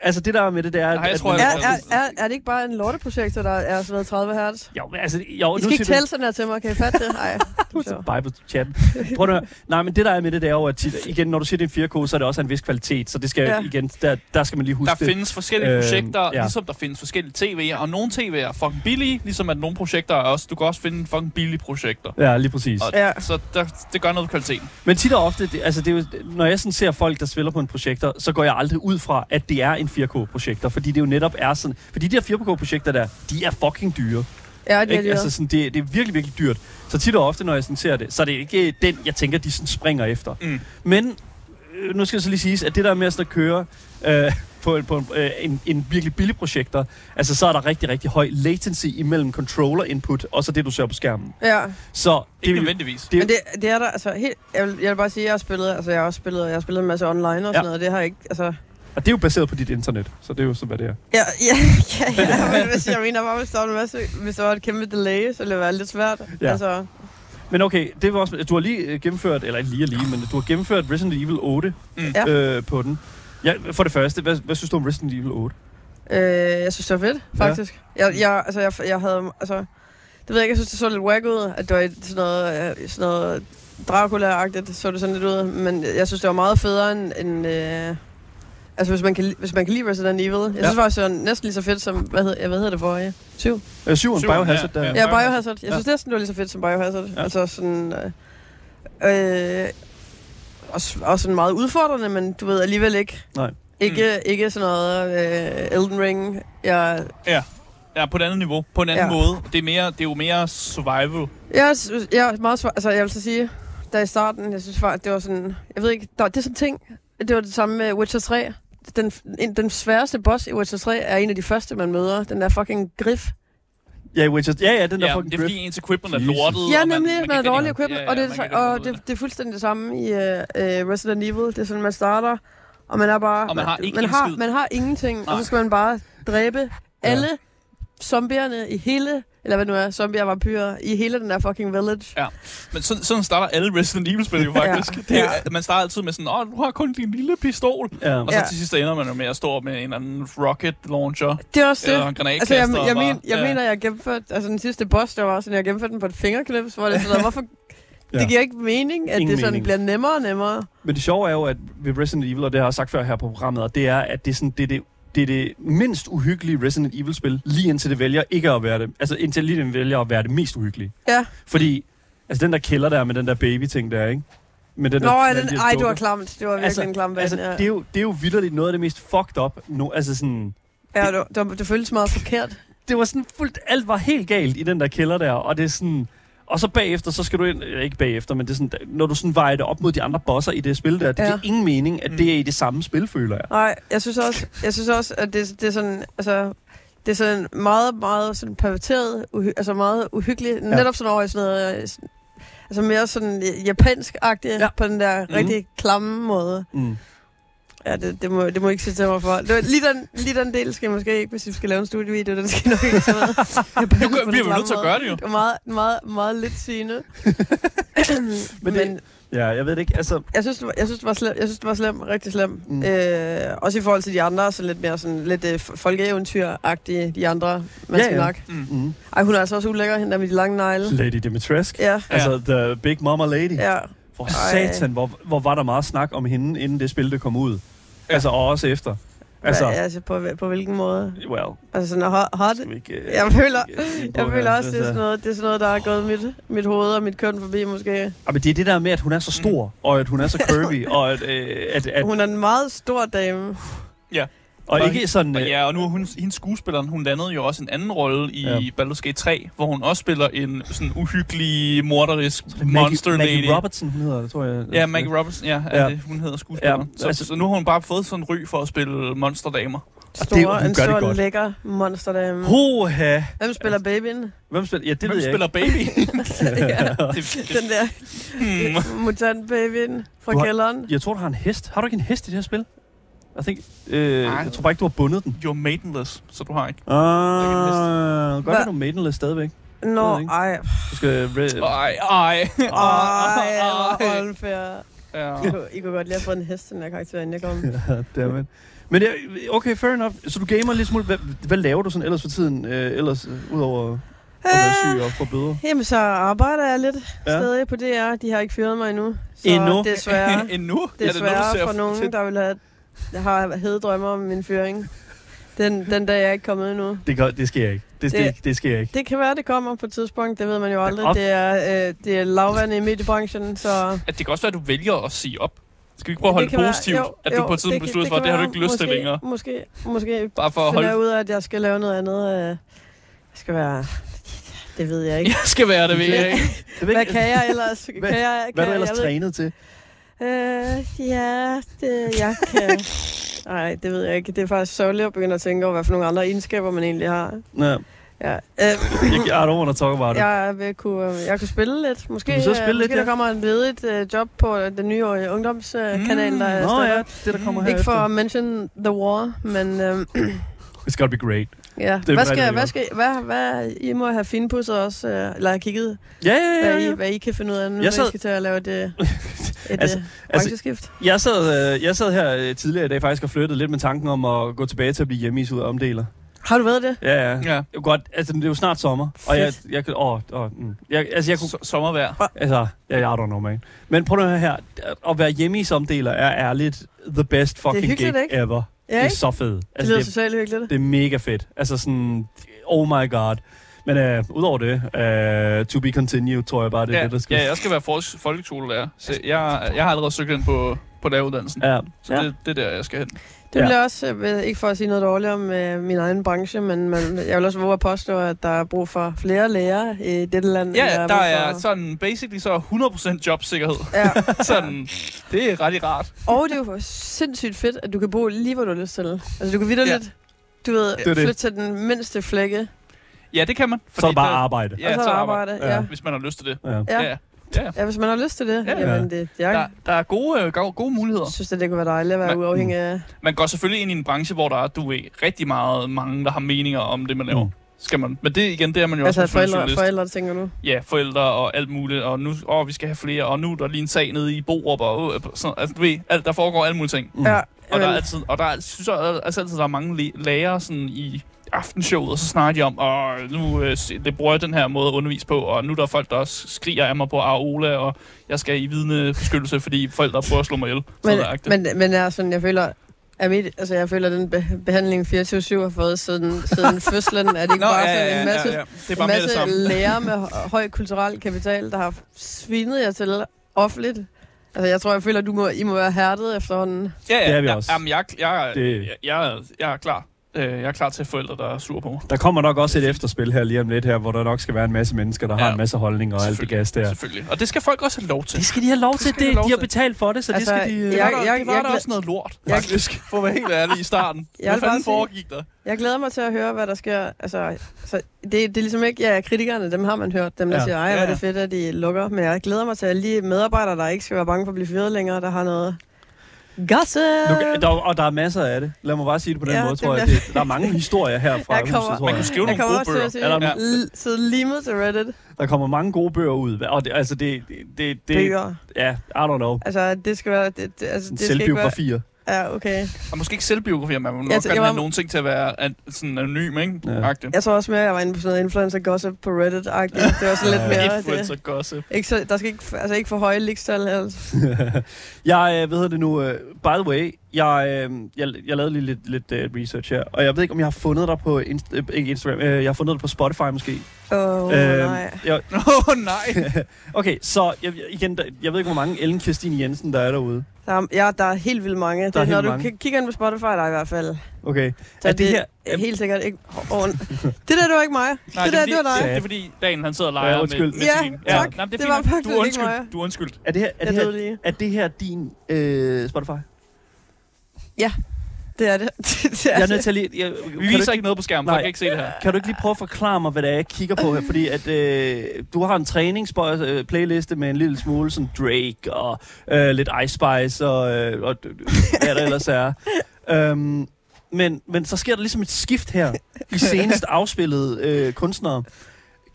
Speaker 2: altså, det der er med det, det er...
Speaker 3: Nej, jeg
Speaker 2: at
Speaker 3: tror,
Speaker 2: man-
Speaker 4: Er,
Speaker 3: jeg-
Speaker 4: er, er, er det ikke bare en lorteprojekt, der er sådan noget 30 hertz?
Speaker 2: Jo, men altså, jo,
Speaker 4: I
Speaker 2: nu
Speaker 4: skal ikke
Speaker 2: siger du-
Speaker 4: tælle sådan her til mig, kan I fatte det? Nej, det er sjovt.
Speaker 2: Bare på chatten. Prøv at høre. Nej, men det der er med det, det er jo, at tit, igen, når du siger, det er en 4K, så er det også af en vis kvalitet. Så det skal,
Speaker 4: Ja.
Speaker 2: ja. igen, der, der skal man lige huske
Speaker 3: Der
Speaker 2: det.
Speaker 3: findes forskellige
Speaker 2: Øhm,
Speaker 3: projekter,
Speaker 2: ja.
Speaker 3: ligesom der findes forskellige tv'er, og nogle tv'er er fucking billige, ligesom at nogle projekter er også, du kan også finde fucking billige projekter.
Speaker 2: Ja, lige præcis.
Speaker 3: Og-
Speaker 4: Ja.
Speaker 3: Så der, det gør noget ved kvaliteten.
Speaker 2: Men tit og ofte, det, altså det er jo, når jeg sådan ser folk, der spiller på en projektor, så går jeg aldrig ud fra, at det er en 4K-projektor, fordi det jo netop er sådan... Fordi de her 4K-projekter der, de er fucking dyre.
Speaker 4: Ja, det er
Speaker 2: ikke?
Speaker 4: de
Speaker 2: Altså, sådan, det, det er virkelig, virkelig dyrt. Så tit og ofte, når jeg sådan ser det, så er det ikke den, jeg tænker, de sådan springer efter.
Speaker 3: Mm.
Speaker 2: Men øh, nu skal jeg så lige sige, at det der med at sådan at køre øh, på, en, på en, øh, en, en virkelig billig projektor, altså så er der rigtig, rigtig høj latency imellem controller-input og så det, du ser på skærmen.
Speaker 4: Ja,
Speaker 2: Så
Speaker 3: Ikke
Speaker 2: det,
Speaker 3: nødvendigvis.
Speaker 2: Det-
Speaker 4: men det, det er der, altså helt, jeg vil, jeg vil bare sige, at jeg har spillet, altså jeg har også spillet, jeg har spillet en masse online og sådan
Speaker 2: Ja.
Speaker 4: ja. noget, det har ikke, altså,
Speaker 2: og det er jo baseret på dit internet, så det er jo så, hvad det er.
Speaker 4: Ja, ja, ja, ja. Men hvis jeg mener bare, hvis der var en masse, hvis der var et kæmpe delay, så ville det være lidt svært.
Speaker 2: Ja.
Speaker 4: Ja. Altså,
Speaker 2: Men okay, det var også, du har lige øh, gennemført, eller ikke lige og lige, men du har gennemført Resident Evil 8
Speaker 3: Mm.
Speaker 4: Ja.
Speaker 2: øh, på den. Ja, for det første, hvad, hvad synes du om Resident Evil 8?
Speaker 4: øh, jeg synes, det var fedt, faktisk. Ja. Jeg, jeg, altså, jeg, jeg havde, altså, det ved jeg ikke, jeg synes, det så lidt wack ud, at det var et, sådan noget, øh, sådan noget Dracula-agtigt, så det sådan lidt ud, men jeg synes, det var meget federe end, end øh, altså, hvis man, kan, li- hvis man kan lide Resident Evil. Jeg
Speaker 2: Ja.
Speaker 4: ja. synes faktisk, det var næsten lige så fedt som, hvad hedder, hvad hedder det for, ja? Syv.
Speaker 2: Øh, syveren,
Speaker 3: Syveren,
Speaker 2: Biohazard,
Speaker 3: ja,
Speaker 2: der...
Speaker 3: ja.
Speaker 4: Ja,
Speaker 3: Biohazard.
Speaker 4: Biohazard. Jeg synes næsten, det var lige så fedt som Biohazard.
Speaker 2: Ja.
Speaker 4: Ja. Altså sådan... Øh, øh, også, også sådan meget udfordrende, men du ved alligevel ikke.
Speaker 2: Nej.
Speaker 4: Ikke, mm. ikke sådan noget øh, Elden Ring. Jeg,
Speaker 3: Ja, på et andet niveau. På en anden ja.
Speaker 4: Ja.
Speaker 3: måde. Det er, mere, det er jo mere survival.
Speaker 4: jeg, synes- jeg er meget svar, Altså, jeg vil så sige, da i starten, jeg synes faktisk, det var sådan... Jeg ved ikke, der, det er sådan ting. Det var det samme med Witcher 3. Den, en, den sværeste boss i Witcher 3 er en af de første, man møder. Den der fucking griff.
Speaker 2: Ja, i Witcher. Ja, ja, den der
Speaker 3: Ja,
Speaker 2: fucking
Speaker 3: det er fordi
Speaker 2: griff.
Speaker 3: ens equipment er
Speaker 2: Jesus.
Speaker 3: lortet.
Speaker 4: Ja,
Speaker 3: og
Speaker 4: nemlig. Man,
Speaker 3: kan
Speaker 4: er
Speaker 3: ikke
Speaker 4: dårlig
Speaker 3: rigtig-
Speaker 4: equipment, ja, ja, og,
Speaker 3: man
Speaker 4: det,
Speaker 3: kan ikke
Speaker 4: er, og
Speaker 3: rigtig
Speaker 4: det, det er fuldstændig det samme i uh, uh, Resident Evil. Det er sådan, man starter, og man er bare...
Speaker 3: Og man har ikke
Speaker 4: man
Speaker 3: en
Speaker 4: har,
Speaker 3: skid.
Speaker 4: man har ingenting, Nej. og
Speaker 3: Nej.
Speaker 4: så skal man bare dræbe ja. alle zombierne i hele... Eller hvad det nu er, zombier og vampyrer i hele den der fucking village.
Speaker 3: Men sådan, sådan starter alle Resident Evil-spil jo faktisk. ja.
Speaker 4: Ja.
Speaker 3: det, er- Man starter altid med sådan, åh, du har kun din lille pistol.
Speaker 2: Ja.
Speaker 3: Og så
Speaker 4: Ja.
Speaker 3: til sidst ender man jo med at stå med en eller anden rocket launcher.
Speaker 4: Det er også det.
Speaker 3: Eller en granatkaster.
Speaker 4: Altså, jeg, jeg,
Speaker 3: og bare-
Speaker 4: men, jeg
Speaker 3: ja.
Speaker 4: mener, jeg har gennemført... Altså, den sidste boss, der var sådan, jeg gennemførte den på et fingerknips, hvor det er sådan,
Speaker 2: <laughs>
Speaker 4: noget, hvorfor...
Speaker 2: Ja.
Speaker 4: Det giver ikke mening, at
Speaker 2: Ingen
Speaker 4: Ingen det
Speaker 2: mening.
Speaker 4: sådan mening. bliver nemmere og nemmere.
Speaker 2: Men det sjove er jo, at ved Resident Evil, og det har jeg sagt før her på programmet, og det er, at det er, sådan, det, er det, det, er det mindst uhyggelige Resident Evil-spil, lige indtil det vælger ikke at være det. Altså indtil lige den vælger at være det mest uhyggelige.
Speaker 4: Ja.
Speaker 2: Fordi, altså den der kælder der med den der baby-ting der, ikke? Med den
Speaker 4: Nå,
Speaker 2: der,
Speaker 4: er
Speaker 2: de
Speaker 4: den,
Speaker 2: her
Speaker 4: ej, det var
Speaker 2: dukker.
Speaker 4: klamt. Det var virkelig
Speaker 2: Altså,
Speaker 4: en klam
Speaker 2: Altså,
Speaker 4: vand, ja.
Speaker 2: det er jo, det er jo vildt noget af det mest fucked up. No, altså sådan,
Speaker 4: Ja, det, var- det, var- det føltes meget forkert.
Speaker 2: det var sådan fuldt, alt var helt galt i den der kælder der, og det er sådan... Og så bagefter, så skal du ind, eller ikke bagefter, men det er sådan, når du sådan vejer det op mod de andre bosser i det spil der, det
Speaker 4: Ja.
Speaker 2: giver ingen mening, at
Speaker 3: Mm.
Speaker 2: det er i det samme spil, føler jeg.
Speaker 4: Nej, jeg synes også, jeg synes også at det, det er sådan, altså, det er sådan meget, meget sådan perverteret, uhy, altså meget uhyggeligt. Ja. Netop sådan over i sådan noget, øh, sådan- altså mere sådan japansk-agtigt
Speaker 2: Ja.
Speaker 4: ja. på den der
Speaker 2: Mhm.
Speaker 4: mm. rigtig klamme måde.
Speaker 2: Mm.
Speaker 4: Ja, det, det, må, det må I ikke sige til mig for. Det var, lige, den, lige den del skal jeg måske ikke, hvis vi skal lave en studievideo, den skal I nok ikke tage
Speaker 3: <laughs>
Speaker 4: med.
Speaker 3: Nu gør- bliver vi jo nødt til at gøre det jo.
Speaker 4: Det var meget, meget, meget lidt
Speaker 3: <laughs>
Speaker 4: sigende.
Speaker 2: Men
Speaker 4: men,
Speaker 2: det-
Speaker 4: men,
Speaker 2: Ja, jeg ved det ikke. Altså,
Speaker 4: jeg synes, det var, jeg synes, det var slem, jeg synes, det var slem, rigtig slem.
Speaker 2: Mm.
Speaker 4: Mm. Øh, også i forhold til de andre, sådan lidt mere sådan lidt øh, folkeeventyr-agtige, de andre, man
Speaker 2: Ja,
Speaker 4: ja, skal
Speaker 2: ja.
Speaker 4: ja. nok.
Speaker 2: mm.
Speaker 4: Ej, hun er altså også ulækker, hende der med de lange negle.
Speaker 2: Lady Dimitrescu.
Speaker 4: Ja,
Speaker 3: Ja.
Speaker 2: Altså, The Big Mama Lady.
Speaker 4: ja.
Speaker 2: For
Speaker 4: Ej.
Speaker 2: satan, hvor, hvor var der meget snak om hende, inden det spil, det kom ud. Ja. Altså, og også efter. Altså,
Speaker 4: Altså, ja, altså på, på hvilken måde?
Speaker 2: well,
Speaker 4: Altså sådan hot, hot.
Speaker 2: skal vi ikke... øh,
Speaker 4: Jeg føler,
Speaker 2: ikke, øh, gå
Speaker 4: jeg
Speaker 2: her.
Speaker 4: føler også, det er
Speaker 2: Altså-
Speaker 4: sådan noget, det er sådan noget der er gået mit, mit hoved og mit køn forbi, måske.
Speaker 2: Ah, men det er det der med, at hun er så stor, mm. og at hun er så
Speaker 4: <laughs>
Speaker 2: curvy, og at, øh, at, at
Speaker 4: Hun er en meget stor dame.
Speaker 2: og ikke sådan...
Speaker 3: Og
Speaker 2: Øh,
Speaker 3: ja, og nu er hun, hendes skuespilleren, hun landede jo også en anden rolle i
Speaker 2: Ja.
Speaker 3: ja. Baldur's Gate 3, hvor hun også spiller en sådan uhyggelig, morderisk monster
Speaker 2: Maggie,
Speaker 3: lady.
Speaker 2: Maggie Robertson, hun hedder det, tror jeg. Altså.
Speaker 3: Ja, Maggie Robertson, ja, ja.
Speaker 2: Ja.
Speaker 3: Er det, hun hedder skuespilleren.
Speaker 2: Ja,
Speaker 3: Ja, altså,
Speaker 2: altså-
Speaker 3: så, så nu har hun bare fået sådan en ry for at spille monsterdamer.
Speaker 2: Og
Speaker 4: Stor,
Speaker 2: det- hun
Speaker 4: en
Speaker 2: gør det
Speaker 4: stor,
Speaker 2: godt.
Speaker 4: lækker monsterdame.
Speaker 2: Hoha!
Speaker 4: Hvem spiller babyen?
Speaker 2: Hvem spiller? Ja, det
Speaker 3: Hvem
Speaker 2: ved jeg
Speaker 3: spiller baby?
Speaker 4: ja,
Speaker 3: det, det,
Speaker 4: den der
Speaker 3: hmm.
Speaker 4: mutant-babyen fra
Speaker 2: Du har-
Speaker 4: kælderen.
Speaker 2: ikke. <laughs> Jeg tror, du har en hest. Har du ikke en hest i det her spil? Jeg, think, øh,
Speaker 3: Nej.
Speaker 2: jeg tror bare ikke, du har bundet den.
Speaker 3: You're maidenless, så du har ikke.
Speaker 2: Ah, godt,
Speaker 4: Hva-
Speaker 2: at du er maidenless stadigvæk. ved
Speaker 4: Nå,
Speaker 2: jeg ikke.
Speaker 4: ej.
Speaker 2: Du skal... øh, <laughs> Re-
Speaker 3: Ej, ej.
Speaker 2: Ah.
Speaker 4: Ej,
Speaker 3: Ej.
Speaker 4: hvor unfair.
Speaker 3: Ja.
Speaker 4: I kunne, I kunne godt lige have fået en hest, den der karakter, inden jeg kom.
Speaker 2: Dammit. Men det er- okay, fair enough. Så du gamer lidt smule. Hvad, hvad laver du sådan ellers for tiden? Øh, ellers, øh, udover at være syg og få bøder?
Speaker 4: Jamen, så arbejder jeg lidt
Speaker 2: Ja.
Speaker 4: ja. stadig på DR. De har ikke fyret mig endnu. Så
Speaker 2: Endnu? <laughs>
Speaker 4: desværre,
Speaker 3: <laughs> Endnu? Ja, det er noget,
Speaker 4: desværre
Speaker 3: du
Speaker 4: ja,
Speaker 3: ser
Speaker 4: for nogen, der vil have, har hede drømme om min fyring. Den, den dag jeg er ikke kommet endnu.
Speaker 2: Det, gør, det sker ikke. Det, det, det,
Speaker 4: Det-
Speaker 2: det sker ikke.
Speaker 4: Det kan være, det kommer på et tidspunkt. Det ved man jo
Speaker 2: op.
Speaker 4: aldrig. Det er, øh, det er lavvand i mediebranchen, så...
Speaker 3: At det kan også være, at du vælger at sige op. Skal vi ikke prøve at
Speaker 4: Det
Speaker 3: holde det,
Speaker 4: kan være-
Speaker 3: positivt?
Speaker 4: jo,
Speaker 3: at du
Speaker 4: jo,
Speaker 3: på et tidspunkt
Speaker 4: kan-
Speaker 3: beslutter for, at
Speaker 4: kan
Speaker 3: det har du
Speaker 4: være.
Speaker 3: ikke lyst til
Speaker 4: Måske-
Speaker 3: længere.
Speaker 4: Måske, måske
Speaker 3: Bare for at
Speaker 4: finder jeg
Speaker 3: holde...
Speaker 4: ud af, at jeg skal lave noget andet. Øh, jeg skal være... Jeg Det ved
Speaker 3: <laughs>
Speaker 4: jeg ikke.
Speaker 3: Jeg skal være det, ved jeg ikke.
Speaker 2: Jeg ved
Speaker 4: Hvad
Speaker 2: ikke,
Speaker 4: kan jeg
Speaker 3: <laughs>
Speaker 4: ellers? Kan
Speaker 2: Hvad-
Speaker 4: jeg,
Speaker 2: Hvad
Speaker 4: kan
Speaker 2: er du ellers
Speaker 4: jeg, jeg ved-
Speaker 2: trænet til?
Speaker 4: Øh, ja, det, jeg kan... Nej, det ved jeg ikke. Det er faktisk sørgeligt at begynde at tænke over, hvad for nogle andre egenskaber, man egentlig har.
Speaker 2: Nå, jeg,
Speaker 4: Ja. Øh,
Speaker 2: I don't want to talk about it.
Speaker 4: <laughs> jeg, vil kunne, øh, jeg kunne spille lidt. Måske,
Speaker 2: Du kan så spille
Speaker 4: øh,
Speaker 2: lidt,
Speaker 4: måske der
Speaker 2: ja.
Speaker 4: kommer en ledigt øh, job på øh, den nye øh, ungdomskanal,
Speaker 3: Mm,
Speaker 4: der er
Speaker 2: Nå ja,
Speaker 4: startet.
Speaker 2: det der kommer her
Speaker 4: Ikke for at mention the war, men øhm,
Speaker 2: It's gotta be great.
Speaker 4: ja.
Speaker 2: er
Speaker 4: Hvad
Speaker 2: rigtig
Speaker 4: skal, hvad
Speaker 2: godt.
Speaker 4: skal, hvad, hvad, I må have finpudset også, øh, eller have kigget,
Speaker 2: Ja, ja,
Speaker 4: hvad
Speaker 2: ja.
Speaker 4: I,
Speaker 2: ja.
Speaker 4: hvad I kan finde ud af, nu
Speaker 2: Jeg
Speaker 4: når I
Speaker 2: sad-
Speaker 4: skal til at lave
Speaker 2: <laughs>
Speaker 4: et, øh, et
Speaker 2: Altså-
Speaker 4: altså,
Speaker 2: altså-
Speaker 4: brancheskift.
Speaker 2: Jeg sad, øh, jeg sad her øh, tidligere i dag faktisk og flyttede lidt med tanken om at gå tilbage til at blive hjemme i syd omdeler.
Speaker 4: Har du været det?
Speaker 2: Ja, ja.
Speaker 3: Ja.
Speaker 2: Det er jo Godt, altså det er jo snart sommer, og jeg, jeg, kan, åh, åh, mm. jeg, altså jeg kunne,
Speaker 3: So- sommervejr.
Speaker 2: altså, jeg, jeg er don't know, man. Men prøv nu at høre her, at være hjemme i somdeler er ærligt the best fucking
Speaker 4: hyggeligt,
Speaker 2: gig
Speaker 4: ikke?
Speaker 2: ever.
Speaker 4: Ja,
Speaker 2: Det er
Speaker 4: ikke?
Speaker 2: så fedt.
Speaker 4: Det
Speaker 2: Altså,
Speaker 4: lyder
Speaker 2: det,
Speaker 4: socialt hyggeligt.
Speaker 2: det er mega fedt. Altså sådan, oh my god. Men øh, udover det, øh, to be continued, tror jeg bare, det er
Speaker 3: ja,
Speaker 2: det, der skal.
Speaker 3: ja, jeg skal være folks- folkeskolelærer. Så jeg, jeg har allerede søgt ind på, på læreruddannelsen.
Speaker 2: ja.
Speaker 3: Så
Speaker 2: Ja.
Speaker 3: det, det er der, jeg skal hen.
Speaker 4: Det
Speaker 2: Ja.
Speaker 4: vil jeg også, øh, ved- ikke for at sige noget dårligt om øh, min egen branche, men man, jeg vil også våge at påstå, at der er brug for flere lærere i dette land. end
Speaker 3: Ja, der
Speaker 4: brug
Speaker 3: er altså-
Speaker 4: for-
Speaker 3: sådan basically så 100% jobsikkerhed. <laughs>
Speaker 4: Ja.
Speaker 3: Sådan, det er ret rart.
Speaker 4: Og det er jo sindssygt fedt, at du kan bo lige, hvor du har lyst til. Altså, du kan videre lidt, du ved,
Speaker 2: er det.
Speaker 4: flytte til den mindste flække,
Speaker 3: Ja, det kan man.
Speaker 2: Så er det bare
Speaker 3: der-
Speaker 2: arbejde.
Speaker 4: ja, og så arbejde.
Speaker 2: Ja.
Speaker 4: Ja. Ja.
Speaker 3: Hvis man har lyst til det.
Speaker 2: Ja.
Speaker 4: Ja.
Speaker 3: Ja.
Speaker 4: ja, hvis man har lyst til det.
Speaker 3: Ja.
Speaker 4: Ja. Jamen, det, jeg
Speaker 3: Der, der er gode, øh, gode, gode muligheder.
Speaker 4: synes, at det kunne være dejligt at være
Speaker 3: Men-
Speaker 4: uafhængig af...
Speaker 3: Man går selvfølgelig ind i en branche, hvor der er, du ved, rigtig meget mange, der har meninger om det, man laver.
Speaker 2: Mm.
Speaker 3: Skal man. Men det igen, det er man jo
Speaker 4: Altså,
Speaker 3: også som
Speaker 4: forældre,
Speaker 3: journalist.
Speaker 4: forældre, tænker du?
Speaker 3: Ja, forældre og alt muligt. Og nu, åh, vi skal have flere. Og nu er der lige en sag nede i Borup. Og, øh, sådan, altså, du ved, alt, der foregår alle mulige ting.
Speaker 2: Mm.
Speaker 4: Ja,
Speaker 3: Og der, er
Speaker 4: jamen,
Speaker 3: altid, og der er, synes jeg altså altid, der er mange læ- lærere sådan i aftenshowet, og så snakker de om, og nu øh, se- det bruger jeg den her måde at undervise på, og nu er der folk, der også skriger af mig på Aola, og jeg skal i vidnebeskyttelse, fordi forældre prøver at slå mig ihjel.
Speaker 4: men,
Speaker 3: Sådan noget-agtigt.
Speaker 4: men, men er sådan, jeg føler, at mit, altså, jeg føler, at den be- behandling 24-7 har fået siden,
Speaker 3: <laughs>
Speaker 4: siden fødslen, er det ikke
Speaker 3: Nå,
Speaker 4: bare
Speaker 3: ja,
Speaker 4: sådan
Speaker 3: ja,
Speaker 4: en masse,
Speaker 3: ja, ja. Det er
Speaker 4: en
Speaker 3: bare mere det
Speaker 4: masse
Speaker 3: samme.
Speaker 4: lærere med hø- høj kulturel kapital, der har svinet jer til offentligt? Altså, jeg tror, jeg føler, at du må, I må være hærdet efterhånden.
Speaker 3: Ja, ja,
Speaker 2: Det er vi
Speaker 3: ja,
Speaker 2: også.
Speaker 3: Jamen, jeg, jeg,
Speaker 2: Det-
Speaker 3: jeg, jeg, jeg er klar. Øh, Jeg er klar til forældre, der er sure på mig.
Speaker 2: Der kommer nok også et efterspil her lige om lidt her, hvor der nok skal være en masse mennesker, der ja. har
Speaker 3: Ja.
Speaker 2: en masse holdninger og alt det
Speaker 3: Selvfølgelig,
Speaker 2: gas der.
Speaker 3: Selvfølgelig. Og det skal folk også have lov til.
Speaker 2: Det skal de have lov til.
Speaker 3: skal
Speaker 2: Det,
Speaker 3: de have lov
Speaker 2: de har
Speaker 3: til.
Speaker 2: betalt for det, så altså,
Speaker 4: Altså,
Speaker 2: det skal de...
Speaker 3: Det
Speaker 2: Ja.
Speaker 3: var
Speaker 4: jeg-
Speaker 3: der,
Speaker 4: jeg-
Speaker 3: det var
Speaker 4: jeg
Speaker 3: der
Speaker 4: gla-
Speaker 3: også noget lort,
Speaker 4: Jeg-
Speaker 3: faktisk, for at være helt ærlig i starten.
Speaker 4: <laughs> Jeg
Speaker 3: Hvad
Speaker 4: vil bare
Speaker 3: fanden
Speaker 4: sige-
Speaker 3: foregik der?
Speaker 4: Jeg glæder mig til at høre, hvad der sker. Altså, så det, det er ligesom ikke, ja, kritikerne, dem har man hørt, dem der
Speaker 2: Ja.
Speaker 4: ja. siger, ej,
Speaker 3: Ja,
Speaker 4: hvor er
Speaker 3: ja.
Speaker 4: det fedt, at de lukker. Men jeg glæder mig til at lige medarbejdere, der ikke skal være bange for at blive fyret længere, der har noget gossip.
Speaker 2: Nu, der, og der er masser af det. Lad mig bare sige det på den ja,
Speaker 4: Ja,
Speaker 2: måde,
Speaker 4: det
Speaker 2: tror jeg.
Speaker 4: bliver-
Speaker 2: Det, der er mange historier her fra
Speaker 4: <laughs> Jeg
Speaker 2: huset,
Speaker 4: kommer-
Speaker 2: tror
Speaker 3: Man
Speaker 2: jeg.
Speaker 3: kunne skrive
Speaker 4: Jeg
Speaker 3: nogle
Speaker 4: kommer
Speaker 3: gode
Speaker 4: også til
Speaker 3: bøger.
Speaker 4: at sige,
Speaker 2: Er der
Speaker 3: nogle-
Speaker 4: l- sidde limet til Reddit.
Speaker 2: Der kommer mange gode bøger ud. Og det, altså, det... det, det, det
Speaker 4: Bøger.
Speaker 2: ja, I don't know.
Speaker 4: Altså, det skal være... Det, det, altså, det skal ikke være...
Speaker 2: Selvbiografier.
Speaker 4: Ja, okay.
Speaker 3: Og måske ikke selvbiografier, men man må
Speaker 4: Jeg
Speaker 3: nok
Speaker 4: tror-
Speaker 3: gerne
Speaker 4: jeg
Speaker 3: have
Speaker 4: var-
Speaker 3: nogle ting til at være an, sådan anonym, ikke?
Speaker 2: Ja.
Speaker 3: Ja. Agtigt.
Speaker 4: Jeg tror også mere, at jeg var inde på sådan noget influencer gossip på Reddit-agtigt. Det var sådan lidt
Speaker 2: Ja.
Speaker 4: mere...
Speaker 3: Influencer
Speaker 4: Det.
Speaker 3: altså gossip.
Speaker 4: Ikke så, der skal ikke, altså ikke for høje ligestal. Altså.
Speaker 2: <laughs> jeg, øh, hvad hedder det nu, øh, by the way, jeg, øh, jeg, jeg lavede lige lidt, lidt øh, research her, og jeg ved ikke, om jeg har fundet dig på Inst- øh, ikke Instagram, øh, jeg har fundet dig på Spotify måske.
Speaker 4: Oh, øh,
Speaker 2: Øhm,
Speaker 4: nej.
Speaker 2: jeg,
Speaker 3: <laughs> Åh, oh, nej.
Speaker 2: okay, så jeg, jeg- igen, der, jeg ved ikke, hvor mange Ellen Kirstine Jensen, der er derude.
Speaker 4: Der er, ja, der er helt vildt mange.
Speaker 2: er
Speaker 4: Der det,
Speaker 2: helt
Speaker 4: når du
Speaker 2: mange.
Speaker 4: ki- kigger ind på Spotify, der er i hvert fald.
Speaker 2: Okay.
Speaker 4: Så
Speaker 2: Er det her-
Speaker 4: er helt sikkert ikke... Oh, det der, det var ikke mig.
Speaker 3: nej
Speaker 4: det der, det var
Speaker 3: fordi,
Speaker 4: dig.
Speaker 3: det er fordi, Daniel han sidder og
Speaker 2: Ja,
Speaker 3: leger med,
Speaker 2: undskyld.
Speaker 3: med
Speaker 4: Ja,
Speaker 3: sin.
Speaker 4: tak.
Speaker 3: Nej, men
Speaker 4: Det var
Speaker 3: fint.
Speaker 4: faktisk
Speaker 3: du er
Speaker 4: ikke
Speaker 3: undskyld.
Speaker 4: mig.
Speaker 3: Du er undskyldt.
Speaker 2: Er det her, er
Speaker 4: Jeg
Speaker 2: det
Speaker 4: døde
Speaker 2: her,
Speaker 4: lige.
Speaker 2: er det her din øh, Spotify?
Speaker 4: Det er det. <laughs> det, er
Speaker 2: Jeg er
Speaker 4: det.
Speaker 2: nødt til at lige... Jeg,
Speaker 3: Vi
Speaker 2: kan, du,
Speaker 3: viser ikke noget på skærmen, folk
Speaker 2: Nej.
Speaker 3: kan ikke se det her.
Speaker 2: kan du ikke lige prøve at forklare mig, hvad det er, jeg kigger på her? Fordi at øh, du har en træningsplayliste med en lille smule sådan Drake og øh, lidt Ice Spice og, øh, og d- d- hvad der ellers er. Øhm, men, men så sker der ligesom et skift her i senest afspillede øh, kunstnere.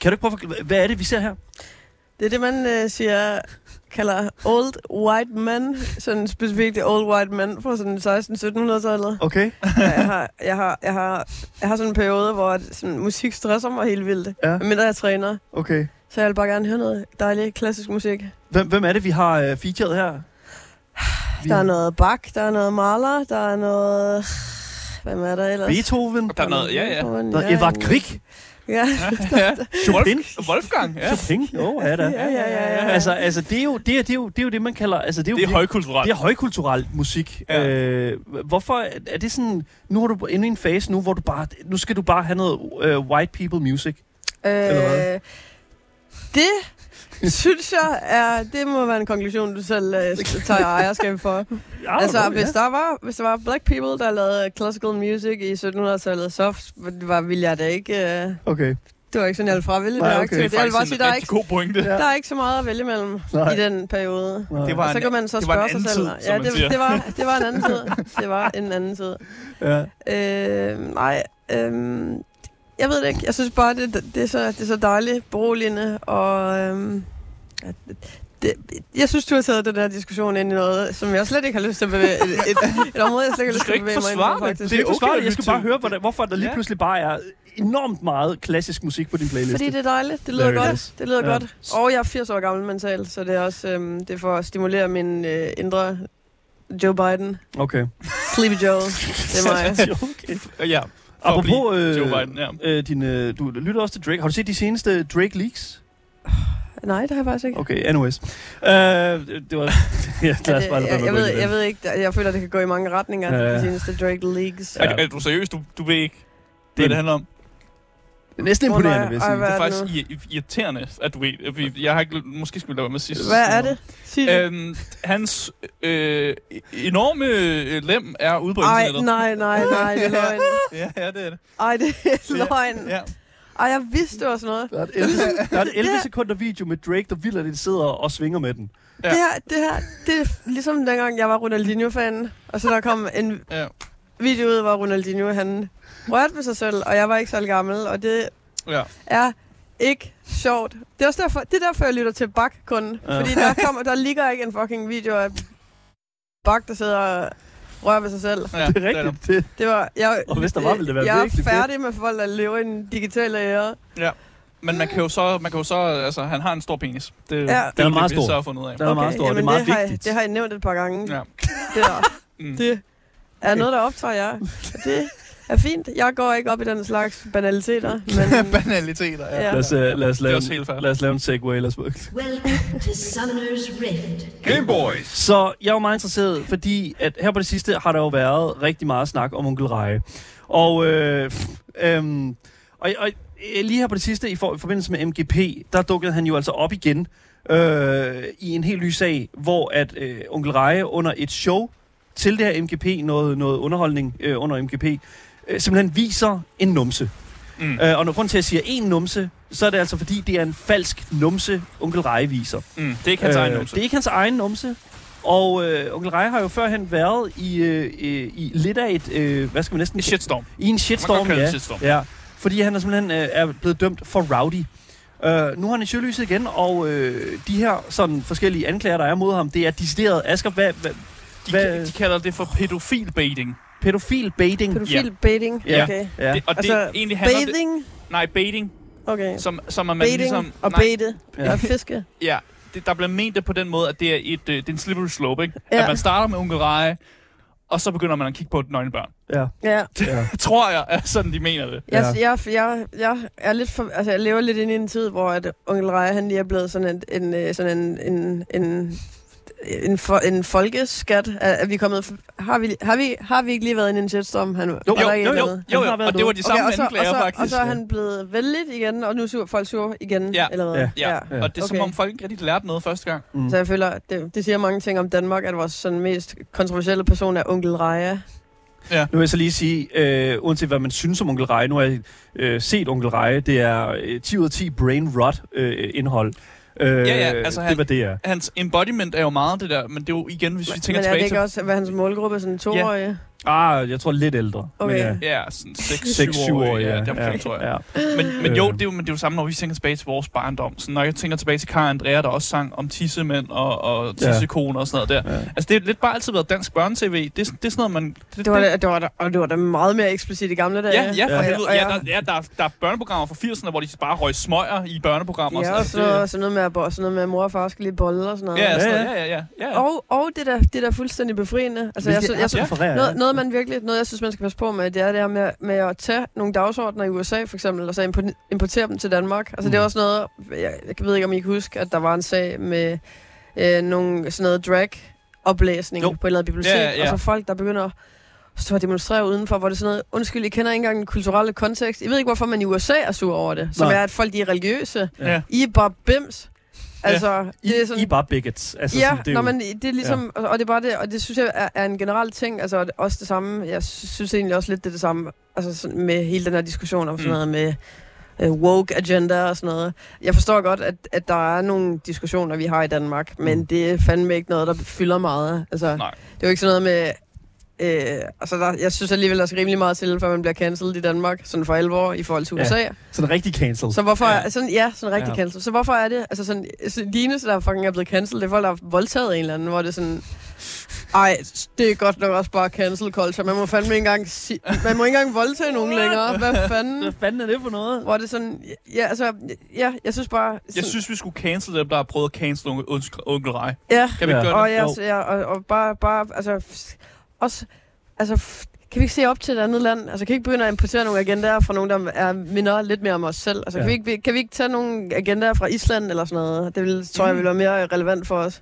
Speaker 2: Kan du ikke prøve at forklare, hvad er det, vi ser her?
Speaker 4: Det er det, man øh, siger, kalder old white men. Sådan specifikt old white men fra sådan 16-1700-tallet.
Speaker 2: Okay.
Speaker 4: Ja, Jeg har, jeg, har, jeg, har, jeg har sådan en periode, hvor at sådan, musik stresser mig helt vildt.
Speaker 2: Ja.
Speaker 4: Ja. Men jeg træner.
Speaker 2: Okay.
Speaker 4: Så jeg vil bare gerne høre noget dejlig klassisk musik.
Speaker 2: Hvem, hvem er det, vi har øh, featured her? Vi
Speaker 4: Der er
Speaker 2: har
Speaker 4: noget Bach, der er noget Mahler, der er noget... Hvem er der ellers?
Speaker 2: Beethoven,
Speaker 3: Der er noget, ja, ja.
Speaker 2: der er Edvard Grieg,
Speaker 4: Ja,
Speaker 3: Ja.
Speaker 2: Chopin.
Speaker 3: Wolf- Wolfgang, ja.
Speaker 2: Chopin, jo, oh, er der.
Speaker 4: ja, ja, ja. ja.
Speaker 2: Altså, altså det, er jo, det, er, det, er jo, det er jo det, man kalder... Altså, det, er jo
Speaker 3: Det er højkulturelt.
Speaker 2: det er højkulturel musik. Ja.
Speaker 3: Ja.
Speaker 2: Øh, hvorfor er det sådan... Nu er du inde i en fase nu, hvor du bare... Nu skal du bare have noget øh, white people music.
Speaker 4: Øh, det synes jeg er, det må være en konklusion, du selv øh, tager ejerskab for.
Speaker 2: Ja,
Speaker 4: Altså,
Speaker 2: det er
Speaker 4: hvis
Speaker 2: det.
Speaker 4: der, var, hvis der var black people, der lavede classical music i 1700-tallet soft, var, ville jeg da ikke... Øh,
Speaker 2: Okay.
Speaker 4: det var ikke sådan, jeg ville fravælge
Speaker 2: Nej,
Speaker 4: det.
Speaker 2: okay.
Speaker 4: Okay. Det, jeg vil bare sige, der er, ikke,
Speaker 3: god pointe.
Speaker 2: Ja.
Speaker 4: der er ikke så meget at vælge mellem
Speaker 2: Nej.
Speaker 4: i den periode.
Speaker 2: Nej.
Speaker 3: Det var
Speaker 4: Så
Speaker 3: en,
Speaker 4: kan man så
Speaker 3: det var en
Speaker 4: spørge sig
Speaker 3: anden
Speaker 4: selv.
Speaker 3: tid, som
Speaker 4: ja,
Speaker 3: man
Speaker 4: det,
Speaker 3: siger.
Speaker 4: det, var, det var en anden tid. Det var en anden tid.
Speaker 2: Ja.
Speaker 4: Øh, nej, øh, jeg ved det ikke. Jeg synes bare, det, det, er, så, det er så dejligt, beroligende, og øh, det, jeg synes, du har taget den der diskussion ind i noget, som jeg slet ikke har lyst til at bevæge. Et, et, et område, jeg slet ikke
Speaker 3: Du
Speaker 4: har lyst til
Speaker 3: skal
Speaker 4: at
Speaker 3: ikke
Speaker 4: bevæge mig ind
Speaker 3: forsvare
Speaker 4: på,
Speaker 3: det.
Speaker 4: faktisk.
Speaker 2: Det er
Speaker 3: okay
Speaker 2: okay,
Speaker 3: at
Speaker 2: jeg
Speaker 3: lytte
Speaker 2: skal bare
Speaker 3: til.
Speaker 2: høre, hvordan, hvorfor der lige
Speaker 3: Ja.
Speaker 2: pludselig bare er enormt meget klassisk musik på din playlist.
Speaker 4: Fordi det er dejligt. Det lyder
Speaker 2: Very
Speaker 4: godt.
Speaker 2: nice.
Speaker 4: Det lyder
Speaker 2: Ja.
Speaker 4: ja. godt. Og jeg er 80 år gammel mentalt, så det er også øhm, det er for at stimulere min øh, indre Joe Biden.
Speaker 2: Okay.
Speaker 4: Sleepy Joe. Det er mig.
Speaker 3: <laughs>
Speaker 2: okay.
Speaker 3: Ja, for at blive
Speaker 2: Apropos øh,
Speaker 3: Joe Biden, ja.
Speaker 2: øh, din, øh, du lytter også til Drake. Har du set de seneste Drake Leaks?
Speaker 4: Nej, det har jeg faktisk ikke.
Speaker 2: Okay, anyways. <laughs> Øh, det var... ja, lad os
Speaker 4: det,
Speaker 2: bare
Speaker 4: jeg, jeg,
Speaker 2: gå
Speaker 4: ved,
Speaker 2: ind i
Speaker 4: jeg
Speaker 2: det.
Speaker 4: ved ikke, der- jeg føler, det kan gå i mange retninger,
Speaker 2: Ja,
Speaker 4: ja.
Speaker 2: ja.
Speaker 4: de seneste Drake Leagues.
Speaker 2: Ja.
Speaker 3: Er, er du seriøs? Du, du ved ikke,
Speaker 2: Det er-
Speaker 3: hvad det handler om?
Speaker 2: Det er Næsten
Speaker 4: Åh,
Speaker 2: imponerende,
Speaker 4: nej,
Speaker 2: vil jeg sige.
Speaker 4: ej, hvad
Speaker 3: Det er
Speaker 4: er det
Speaker 3: faktisk i- irriterende, at du ved. Vi- Jeg har ikke, måske skulle lade være med sidst.
Speaker 4: Hvad er det? Sig det.
Speaker 3: Øhm, hans øh, enorme øh, lem er ude på
Speaker 4: Ej,
Speaker 3: internettet.
Speaker 4: nej, nej, nej, det er løgn.
Speaker 3: <laughs> Ja, ja, det er det.
Speaker 4: Ej, det er løgn. <laughs>
Speaker 3: Ja.
Speaker 4: Ej, jeg vidste, det var sådan noget.
Speaker 2: Der er et 11,
Speaker 4: <laughs>
Speaker 2: der er et 11 sekunder video med Drake, der vildt, at det sidder og svinger med den.
Speaker 3: Ja.
Speaker 4: Det her, det her, det er ligesom dengang, jeg var Ronaldinho-fan, og så der kom en
Speaker 3: Ja.
Speaker 4: video ud, hvor Ronaldinho, han rørte ved sig selv, og jeg var ikke så gammel, og det
Speaker 3: Ja.
Speaker 4: er ikke sjovt. Det er også derfor, det er derfor jeg lytter til Bak kun.
Speaker 2: Ja.
Speaker 4: Ja. Fordi
Speaker 2: <laughs>
Speaker 4: der, kommer, der ligger ikke en fucking video af Bak, der sidder og rører ved sig selv.
Speaker 3: Ja,
Speaker 2: det er rigtigt. Det,
Speaker 4: Det var, jeg,
Speaker 2: Og hvis der var, ville det være
Speaker 4: Jeg
Speaker 2: virkelig
Speaker 4: er
Speaker 2: fedt.
Speaker 4: færdig med folk, der lever i en digital ære.
Speaker 3: Men man kan jo så, man kan jo så, altså, han har en stor penis. Det, det
Speaker 4: er
Speaker 3: jo det,
Speaker 2: meget
Speaker 3: vi
Speaker 2: stor.
Speaker 3: Så har fundet ud af.
Speaker 2: Der er meget stor, og det er meget
Speaker 4: det har, jeg-
Speaker 2: vigtigt.
Speaker 4: det har jeg nævnt et par gange. Ja.
Speaker 3: Ja.
Speaker 4: <laughs> Det, der,
Speaker 3: Mm. <laughs>
Speaker 4: det er
Speaker 2: Okay.
Speaker 4: noget, der optager jer. Og Det er fint. Jeg går ikke op i den slags
Speaker 3: <laughs>
Speaker 4: banaliteter, men
Speaker 3: Banaliteter, ja.
Speaker 4: Ja.
Speaker 2: Lad os, uh, lad os
Speaker 3: Det er
Speaker 2: lave
Speaker 3: også helt fair.
Speaker 2: en, lad os lave en segway. Lad os,
Speaker 5: Welcome to Summoner's Rift.
Speaker 1: Game Boys.
Speaker 2: Så jeg er jo meget interesseret, fordi at her på det sidste har der jo været rigtig meget snak om onkel Reje. Og, øh, pff, øhm, og, og øh, lige her på det sidste, i, for, i forbindelse med MGP, der dukkede han jo altså op igen øh, i en helt ny sag, hvor at øh, onkel Reje under et show til det her MGP, noget, noget underholdning øh, under MGP, øh, simpelthen viser en numse.
Speaker 3: Mm.
Speaker 2: Øh, og når grunden til, at jeg siger en numse, så er det altså fordi, det er en falsk numse, onkel Reje viser.
Speaker 3: Mm. Det er ikke hans egen numse.
Speaker 2: Øh, Det er ikke hans egen numse. Og øh, onkel Rej har jo førhen været i, øh, øh, i lidt af et, øh, hvad skal man næsten
Speaker 3: En shitstorm.
Speaker 2: I en shitstorm,
Speaker 3: Man kan kalde det
Speaker 2: ja.
Speaker 3: shitstorm.
Speaker 2: ja. Fordi han er simpelthen øh, er blevet dømt for rowdy. Øh, nu er han i søgelyset igen, og øh, de her sådan, forskellige anklager, der er mod ham, det er decideret, Asger, hvad, hvad,
Speaker 3: De,
Speaker 2: Hvad-
Speaker 3: de kalder det for pædofilbaiting.
Speaker 2: pædofil baiting.
Speaker 4: pædofil baiting.
Speaker 2: Ja.
Speaker 4: Okay.
Speaker 2: Ja,
Speaker 3: Det, og det
Speaker 4: Altså,
Speaker 3: egentlig handler det,
Speaker 4: Bathing?
Speaker 3: Nej, baiting.
Speaker 4: Okay.
Speaker 3: Som, som er man
Speaker 4: Baiting
Speaker 3: ligesom...
Speaker 4: og
Speaker 3: nej,
Speaker 4: bete
Speaker 2: Ja.
Speaker 4: og fiske.
Speaker 3: Ja, det, der bliver ment det på den måde, at det er, et, øh, det er en slippery slope, ikke?
Speaker 4: Ja.
Speaker 3: At man starter med Onkel Reje, og så begynder man at kigge på et nøgenbørn.
Speaker 2: ja,
Speaker 4: Ja.
Speaker 2: ja.
Speaker 3: <laughs> Tror jeg, er sådan de mener det.
Speaker 2: Ja.
Speaker 4: Jeg, jeg, jeg, jeg, er lidt for, altså, jeg lever lidt inde i en tid, hvor at øh, onkel Reje, han lige er blevet sådan en, en, øh, sådan en, en, en en, for, en folkeskat? Er, er vi kommet, f- har, vi, har, vi, har vi ikke lige været inde i en shitstorm? Han,
Speaker 2: Jo,
Speaker 4: var der ikke
Speaker 2: jo,
Speaker 4: en
Speaker 2: jo.
Speaker 4: eller anden?
Speaker 3: Jo,
Speaker 2: Han har
Speaker 3: jo,
Speaker 2: været
Speaker 3: og det var
Speaker 2: derude.
Speaker 3: de samme
Speaker 4: og, så,
Speaker 3: anklager,
Speaker 4: og, så,
Speaker 3: faktisk.
Speaker 4: og så er han blevet vældigt igen, og nu er sur, folk sur igen,
Speaker 3: Ja.
Speaker 4: eller hvad?
Speaker 2: Ja.
Speaker 3: Ja,
Speaker 2: Ja.
Speaker 3: og det er som
Speaker 4: Okay.
Speaker 3: om folk ikke rigtig lærte noget første gang.
Speaker 2: Mm.
Speaker 4: Så jeg føler, at det, det siger mange ting om Danmark, at vores sådan, mest kontroversielle person er onkel Reje.
Speaker 2: Nu vil jeg så lige sige, øh, uanset hvad man synes om Onkel Reje, nu har jeg øh, set Onkel Reje, det er øh, 10 ud af 10 brain rot øh, indhold. Øh,
Speaker 3: Ja, ja, altså
Speaker 2: det
Speaker 3: han-
Speaker 2: var det er.
Speaker 3: Hans embodiment er jo meget det der, men det er jo igen, hvis vi tænker
Speaker 4: Men er det
Speaker 3: tilbage
Speaker 4: ikke
Speaker 3: til...
Speaker 4: også, hvad hans målgruppe er, sådan toårige? Ja.
Speaker 2: Ah, jeg tror lidt ældre.
Speaker 4: Okay.
Speaker 2: Men,
Speaker 3: Ja, sådan 6-7
Speaker 2: 6-7
Speaker 3: år,
Speaker 2: år,
Speaker 3: ja,
Speaker 2: ja.
Speaker 3: det omkring, tror jeg.
Speaker 2: ja.
Speaker 3: Men, men jo,
Speaker 2: Øh.
Speaker 3: det er jo, men det er jo samme, når vi tænker tilbage til vores barndom. Så når jeg tænker tilbage til Karen Andrea, der også sang om tissemænd og, og
Speaker 2: Ja.
Speaker 3: tissekoner og sådan noget der.
Speaker 2: Ja.
Speaker 3: Altså, det er lidt bare altid været dansk børnetv. Det, er- det er sådan noget, man...
Speaker 4: Det var, da, det, var da, og det var da meget mere eksplicit i gamle dage.
Speaker 3: Ja, ja, for
Speaker 2: Ja.
Speaker 3: helvede.
Speaker 4: Og
Speaker 3: Ja,
Speaker 4: jeg-
Speaker 3: der, ja, der, er- der er børneprogrammer fra 80'erne, hvor de bare røg smøger i børneprogrammer.
Speaker 4: Ja, og
Speaker 3: og sådan
Speaker 4: så,
Speaker 3: noget.
Speaker 4: og sådan noget med, at bo- sådan noget med, at mor og far skal lige bolle og sådan
Speaker 3: Det-
Speaker 4: noget.
Speaker 3: Ja, sådan
Speaker 2: Ja,
Speaker 3: noget. ja, ja, ja, ja.
Speaker 4: Og, og det, der, det der er fuldstændig befriende. Altså, jeg, jeg, jeg,
Speaker 3: så-
Speaker 2: jeg,
Speaker 4: noget, noget, man virkelig, noget, jeg synes, man skal passe på med, det er det her med, med at tage nogle dagsordner i USA, for eksempel, og så impo- importere dem til Danmark. Altså, mm. det er
Speaker 2: Mm.
Speaker 4: også noget, jeg, jeg ved ikke, om I kan huske, at der var en sag med øh, nogle sådan noget drag oplæsning
Speaker 2: Jo.
Speaker 4: på et eller andet bibliotek,
Speaker 3: Ja, ja, ja.
Speaker 4: og så folk, der begynder stå og demonstrere udenfor, hvor det er sådan noget, undskyld, I kender ikke engang den kulturelle kontekst. I ved ikke, hvorfor man i USA er sur over det, som
Speaker 2: Nej.
Speaker 4: er, at folk de er religiøse.
Speaker 3: Ja.
Speaker 4: I er bare bims. Altså,
Speaker 2: I,
Speaker 4: det
Speaker 2: sådan... I
Speaker 4: er sådan...
Speaker 2: er bare bigots. Altså,
Speaker 4: ja,
Speaker 2: sådan, det er
Speaker 4: når
Speaker 2: jo-
Speaker 4: man, det er ligesom, ja. og det er bare det, og det synes jeg er, er en generel ting, altså og det- også det samme, jeg sy- synes egentlig også lidt det, er det samme, altså sådan med hele den her diskussion om sådan
Speaker 3: Mm.
Speaker 4: noget med øh, woke agenda og sådan noget. Jeg forstår godt, at, at der er nogle diskussioner, vi har i Danmark,
Speaker 2: Mm.
Speaker 4: men det er fandme ikke noget, der fylder meget. Altså,
Speaker 3: Nej.
Speaker 4: det er jo ikke sådan noget med... Øh, altså der, jeg synes alligevel, der skal rimelig meget til, før man bliver cancelled i Danmark, sådan for alvor, i forhold til
Speaker 2: Ja.
Speaker 4: USA. Ja.
Speaker 2: Sådan rigtig cancel.
Speaker 4: Så hvorfor
Speaker 3: Ja.
Speaker 4: ja. er sådan, ja, sådan rigtig
Speaker 2: Ja.
Speaker 4: ja. cancel. Så hvorfor er det, altså sådan, så de eneste, der fucking er blevet cancelled, det er folk, der har voldtaget en eller anden, hvor det er sådan, ej, det er godt nok også bare cancel culture. Man må fandme ikke engang, si- man må ikke engang voldtage nogen længere. Hvad
Speaker 2: <laughs>
Speaker 4: fanden?
Speaker 2: fanden er det for noget?
Speaker 4: Hvor er det sådan, ja, altså, ja, jeg synes bare, sådan,
Speaker 3: Jeg synes, vi skulle cancel dem, der har prøvet at cancel onkel, onkel, onkel Rej.
Speaker 4: ja,
Speaker 3: Kan vi
Speaker 2: Ja.
Speaker 3: ja. gøre
Speaker 4: og,
Speaker 3: det?
Speaker 4: ja,
Speaker 2: Jo.
Speaker 4: så, ja, og, og bare, bare, altså, f- også, altså, f- kan vi ikke se op til et andet land? Altså, kan vi ikke begynde at importere nogle agendaer fra nogen, der er minder lidt mere om os selv? Altså,
Speaker 2: Ja.
Speaker 4: ja. kan, vi ikke, kan vi ikke tage nogle agendaer fra Island eller sådan noget? Det vil, tror jeg ville være mere relevant for os.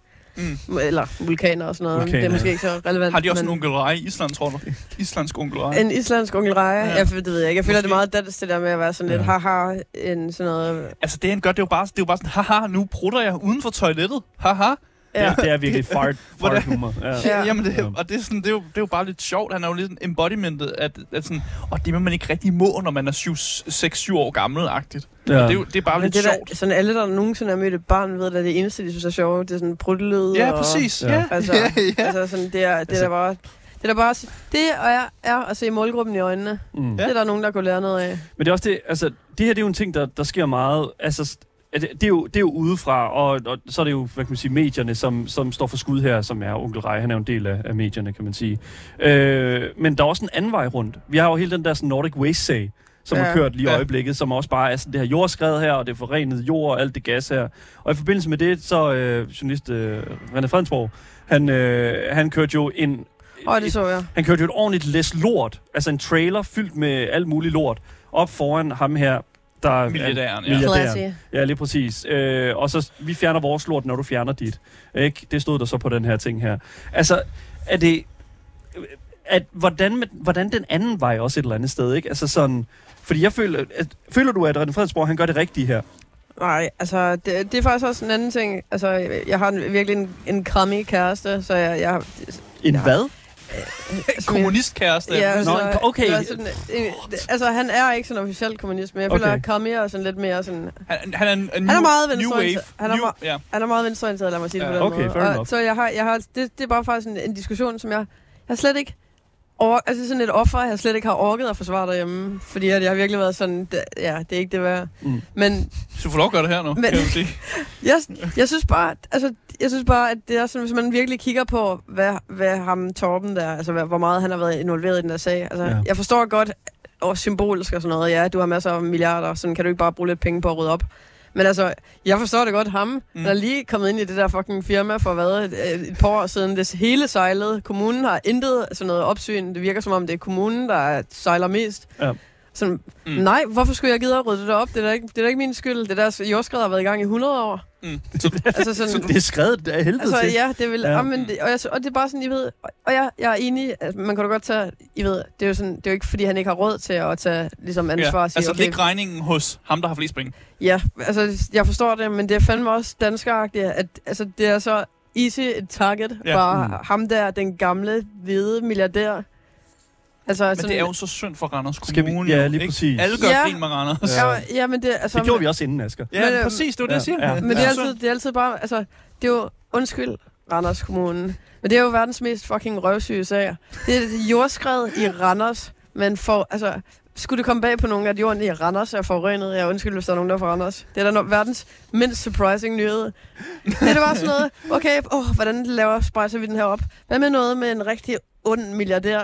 Speaker 3: Mm.
Speaker 4: Eller vulkaner og sådan noget.
Speaker 2: Vulkaner,
Speaker 4: det er måske
Speaker 2: ja.
Speaker 4: ikke så relevant.
Speaker 3: Har de også en onkel Rej i Island, tror du? Islandsk onkel Rej.
Speaker 4: En islandsk onkel Raja?
Speaker 3: Ja.
Speaker 4: Ja. Jeg, det ved jeg ikke. Jeg føler, det er
Speaker 3: Måske.
Speaker 4: meget dansk, det der med at være sådan lidt
Speaker 2: Ja.
Speaker 4: haha, en sådan noget.
Speaker 3: Altså, det han gør, det er jo bare, det er jo bare sådan, haha, nu prutter jeg uden for toilettet. Haha.
Speaker 2: Ja. Det, det er virkelig fart,
Speaker 3: Hvordan-
Speaker 2: fart humor. Ja.
Speaker 4: Ja.
Speaker 3: Ja. Jamen, det,
Speaker 2: Ja.
Speaker 3: og det er, sådan, det, er jo, det er jo bare lidt sjovt. Han er jo lidt sådan embodimentet, at, at sådan, og det må man ikke rigtig må, når man er 6-7 år gammel-agtigt.
Speaker 2: Ja.
Speaker 3: Det, er jo, det er bare
Speaker 4: Men
Speaker 3: lidt
Speaker 4: det der,
Speaker 3: sjovt.
Speaker 4: sådan alle, der nogensinde har mødt et barn, ved, at det eneste, de synes er sjovt, det er sådan pruttelyd.
Speaker 3: Ja,
Speaker 4: og-
Speaker 3: præcis.
Speaker 2: Ja.
Speaker 3: Ja. Ja.
Speaker 4: Altså,
Speaker 3: <laughs> ja, ja.
Speaker 4: Altså sådan, det er, det altså, der bare... Det er der bare... Det og jeg er at se målgruppen i øjnene.
Speaker 2: Mm.
Speaker 4: Ja. Det er der nogen, der kunne lære noget af.
Speaker 2: Men det er også det, altså, det her det er jo en ting, der, der sker meget, altså, s- at det, det, er jo, det er jo udefra, og, og så er det jo, hvad kan man sige, medierne, som, som står for skud her, som er onkel Rej, han er jo en del af, af medierne, kan man sige. Øh, men der er også en anden vej rundt. Vi har jo hele den der sådan, Nordic Waste-sag, som ja.
Speaker 4: Ja.
Speaker 2: har kørt lige i
Speaker 3: Ja.
Speaker 2: øjeblikket, som også bare er sådan det her jordskred her, og det er forurenet jord og alt det gas her. Og i forbindelse med det, så øh, journalist øh, René Fredensborg, han, øh, han kørte jo en...
Speaker 4: Åh, det så jeg.
Speaker 2: Han kørte jo et ordentligt læs lort, altså en trailer fyldt med alt muligt lort, op foran ham her, der er-
Speaker 3: Milliardæren, ja.
Speaker 2: Milliardæren.
Speaker 4: Classy.
Speaker 2: Ja, lige præcis. Øh, og så, vi fjerner vores lort, når du fjerner dit. Ikke? Det stod der så på den her ting her. Altså, er det... At, hvordan, med, hvordan den anden vej også et eller andet sted, ikke? Altså sådan... Fordi jeg føler... At, føler du, at René Fredensborg, han gør det rigtige her?
Speaker 4: Nej, altså, det, det er faktisk også en anden ting. Altså, jeg har en, virkelig en, en krammig kæreste, så jeg... jeg
Speaker 2: En
Speaker 4: Ja.
Speaker 2: hvad?
Speaker 3: Kommunistkæreste.
Speaker 4: Ja,
Speaker 2: Nå,
Speaker 4: så,
Speaker 2: okay.
Speaker 4: det var sådan, øh, det- altså, han er ikke sådan officiel kommunist, men jeg
Speaker 2: Okay.
Speaker 4: føler, at Krammig er sådan lidt mere sådan...
Speaker 3: Han, han, er, en, en
Speaker 4: Han er
Speaker 3: new-
Speaker 4: meget
Speaker 3: new
Speaker 4: venstreorienteret.
Speaker 3: wave.
Speaker 4: Han er
Speaker 3: new,
Speaker 4: meget-
Speaker 3: ja.
Speaker 4: Han er meget venstreorienteret, lad mig sige det
Speaker 3: Ja,
Speaker 4: på den
Speaker 2: okay,
Speaker 4: måde.
Speaker 2: fair
Speaker 4: Og
Speaker 2: enough.
Speaker 4: Så jeg har, jeg har, det, det er bare faktisk en, en diskussion, som jeg, jeg slet ikke over, altså sådan et offer, jeg slet ikke har orket at forsvare derhjemme. Fordi at jeg har virkelig været sådan, det, ja, det er ikke det værd.
Speaker 2: Mm.
Speaker 4: Men
Speaker 3: Så du får lov at gøre det her nu,
Speaker 4: Men-
Speaker 3: kan jeg jo sige.
Speaker 4: jeg, jeg, synes bare, altså, jeg synes bare, at det er sådan, hvis man virkelig kigger på, hvad, hvad ham Torben der, altså hvad, hvor meget han har været involveret i den der sag. Altså,
Speaker 2: Ja.
Speaker 4: ja. jeg forstår godt, og symbolisk og sådan noget, ja, du har masser af milliarder, sådan kan du ikke bare bruge lidt penge på at rydde op. Men altså, jeg forstår det godt ham,
Speaker 3: Mm.
Speaker 4: mm. der er lige kommet ind i det der fucking firma for hvad, et, et par år siden. Det hele sejlede. Kommunen har intet sådan noget opsyn. Det virker som om, det er kommunen, der sejler mest.
Speaker 2: Ja.
Speaker 4: Sådan,
Speaker 3: Mm.
Speaker 4: mm. nej, hvorfor skulle jeg gide at rydde det op? Det er da ikke, det er da ikke min skyld. Det er deres jordskred har været i gang i 100 år.
Speaker 3: Mm.
Speaker 2: <laughs>
Speaker 4: altså sådan,
Speaker 2: Det er skrevet af helvede
Speaker 4: Altså
Speaker 2: til.
Speaker 4: ja, det vil,
Speaker 2: Ja.
Speaker 4: ja. Amen, det, og, jeg, og det er bare sådan, I ved, og- og jeg, jeg er enig, at man kan da godt tage, I ved, det er jo sådan, det er jo ikke fordi, han ikke har råd til at tage ligesom ansvar
Speaker 3: Ja.
Speaker 4: og sige,
Speaker 3: Altså,
Speaker 4: okay,
Speaker 3: læg regningen hos ham, der har flest penge.
Speaker 4: ja, altså jeg forstår det, men det er fandme også danskeragtigt, at altså, det er så easy et target,
Speaker 3: Ja.
Speaker 4: ja. bare
Speaker 2: Mm.
Speaker 4: mm. ham der, den gamle, hvide milliardær. Altså,
Speaker 3: Men det er jo så synd for Randers
Speaker 2: Skal vi-
Speaker 3: Kommune.
Speaker 2: ja,
Speaker 3: nu,
Speaker 2: lige
Speaker 3: ikke?
Speaker 2: præcis.
Speaker 3: Alle gør
Speaker 4: Ja.
Speaker 3: grin med Randers.
Speaker 4: Ja, ja, men det, altså,
Speaker 2: Det gjorde vi også inden, Asger.
Speaker 3: Ja,
Speaker 4: Men, øh,
Speaker 3: præcis, det var det,
Speaker 2: ja,
Speaker 3: jeg siger.
Speaker 2: ja.
Speaker 4: Men det er,
Speaker 3: Ja.
Speaker 4: altid, det er altid bare, altså, det er jo, undskyld, Randers Kommune, men det er jo verdens mest fucking røvsyge sager. Det er et jordskred i Randers, men for, altså, skulle det komme bag på nogen, at jorden i Randers er forurenet? Ja, undskyld, hvis der er nogen, der er fra Randers. Det er da no- verdens mindst surprising nyhed. Det er da bare sådan noget, okay, åh, hvordan laver spejser vi den her op? Hvad med noget med en rigtig ond milliardær?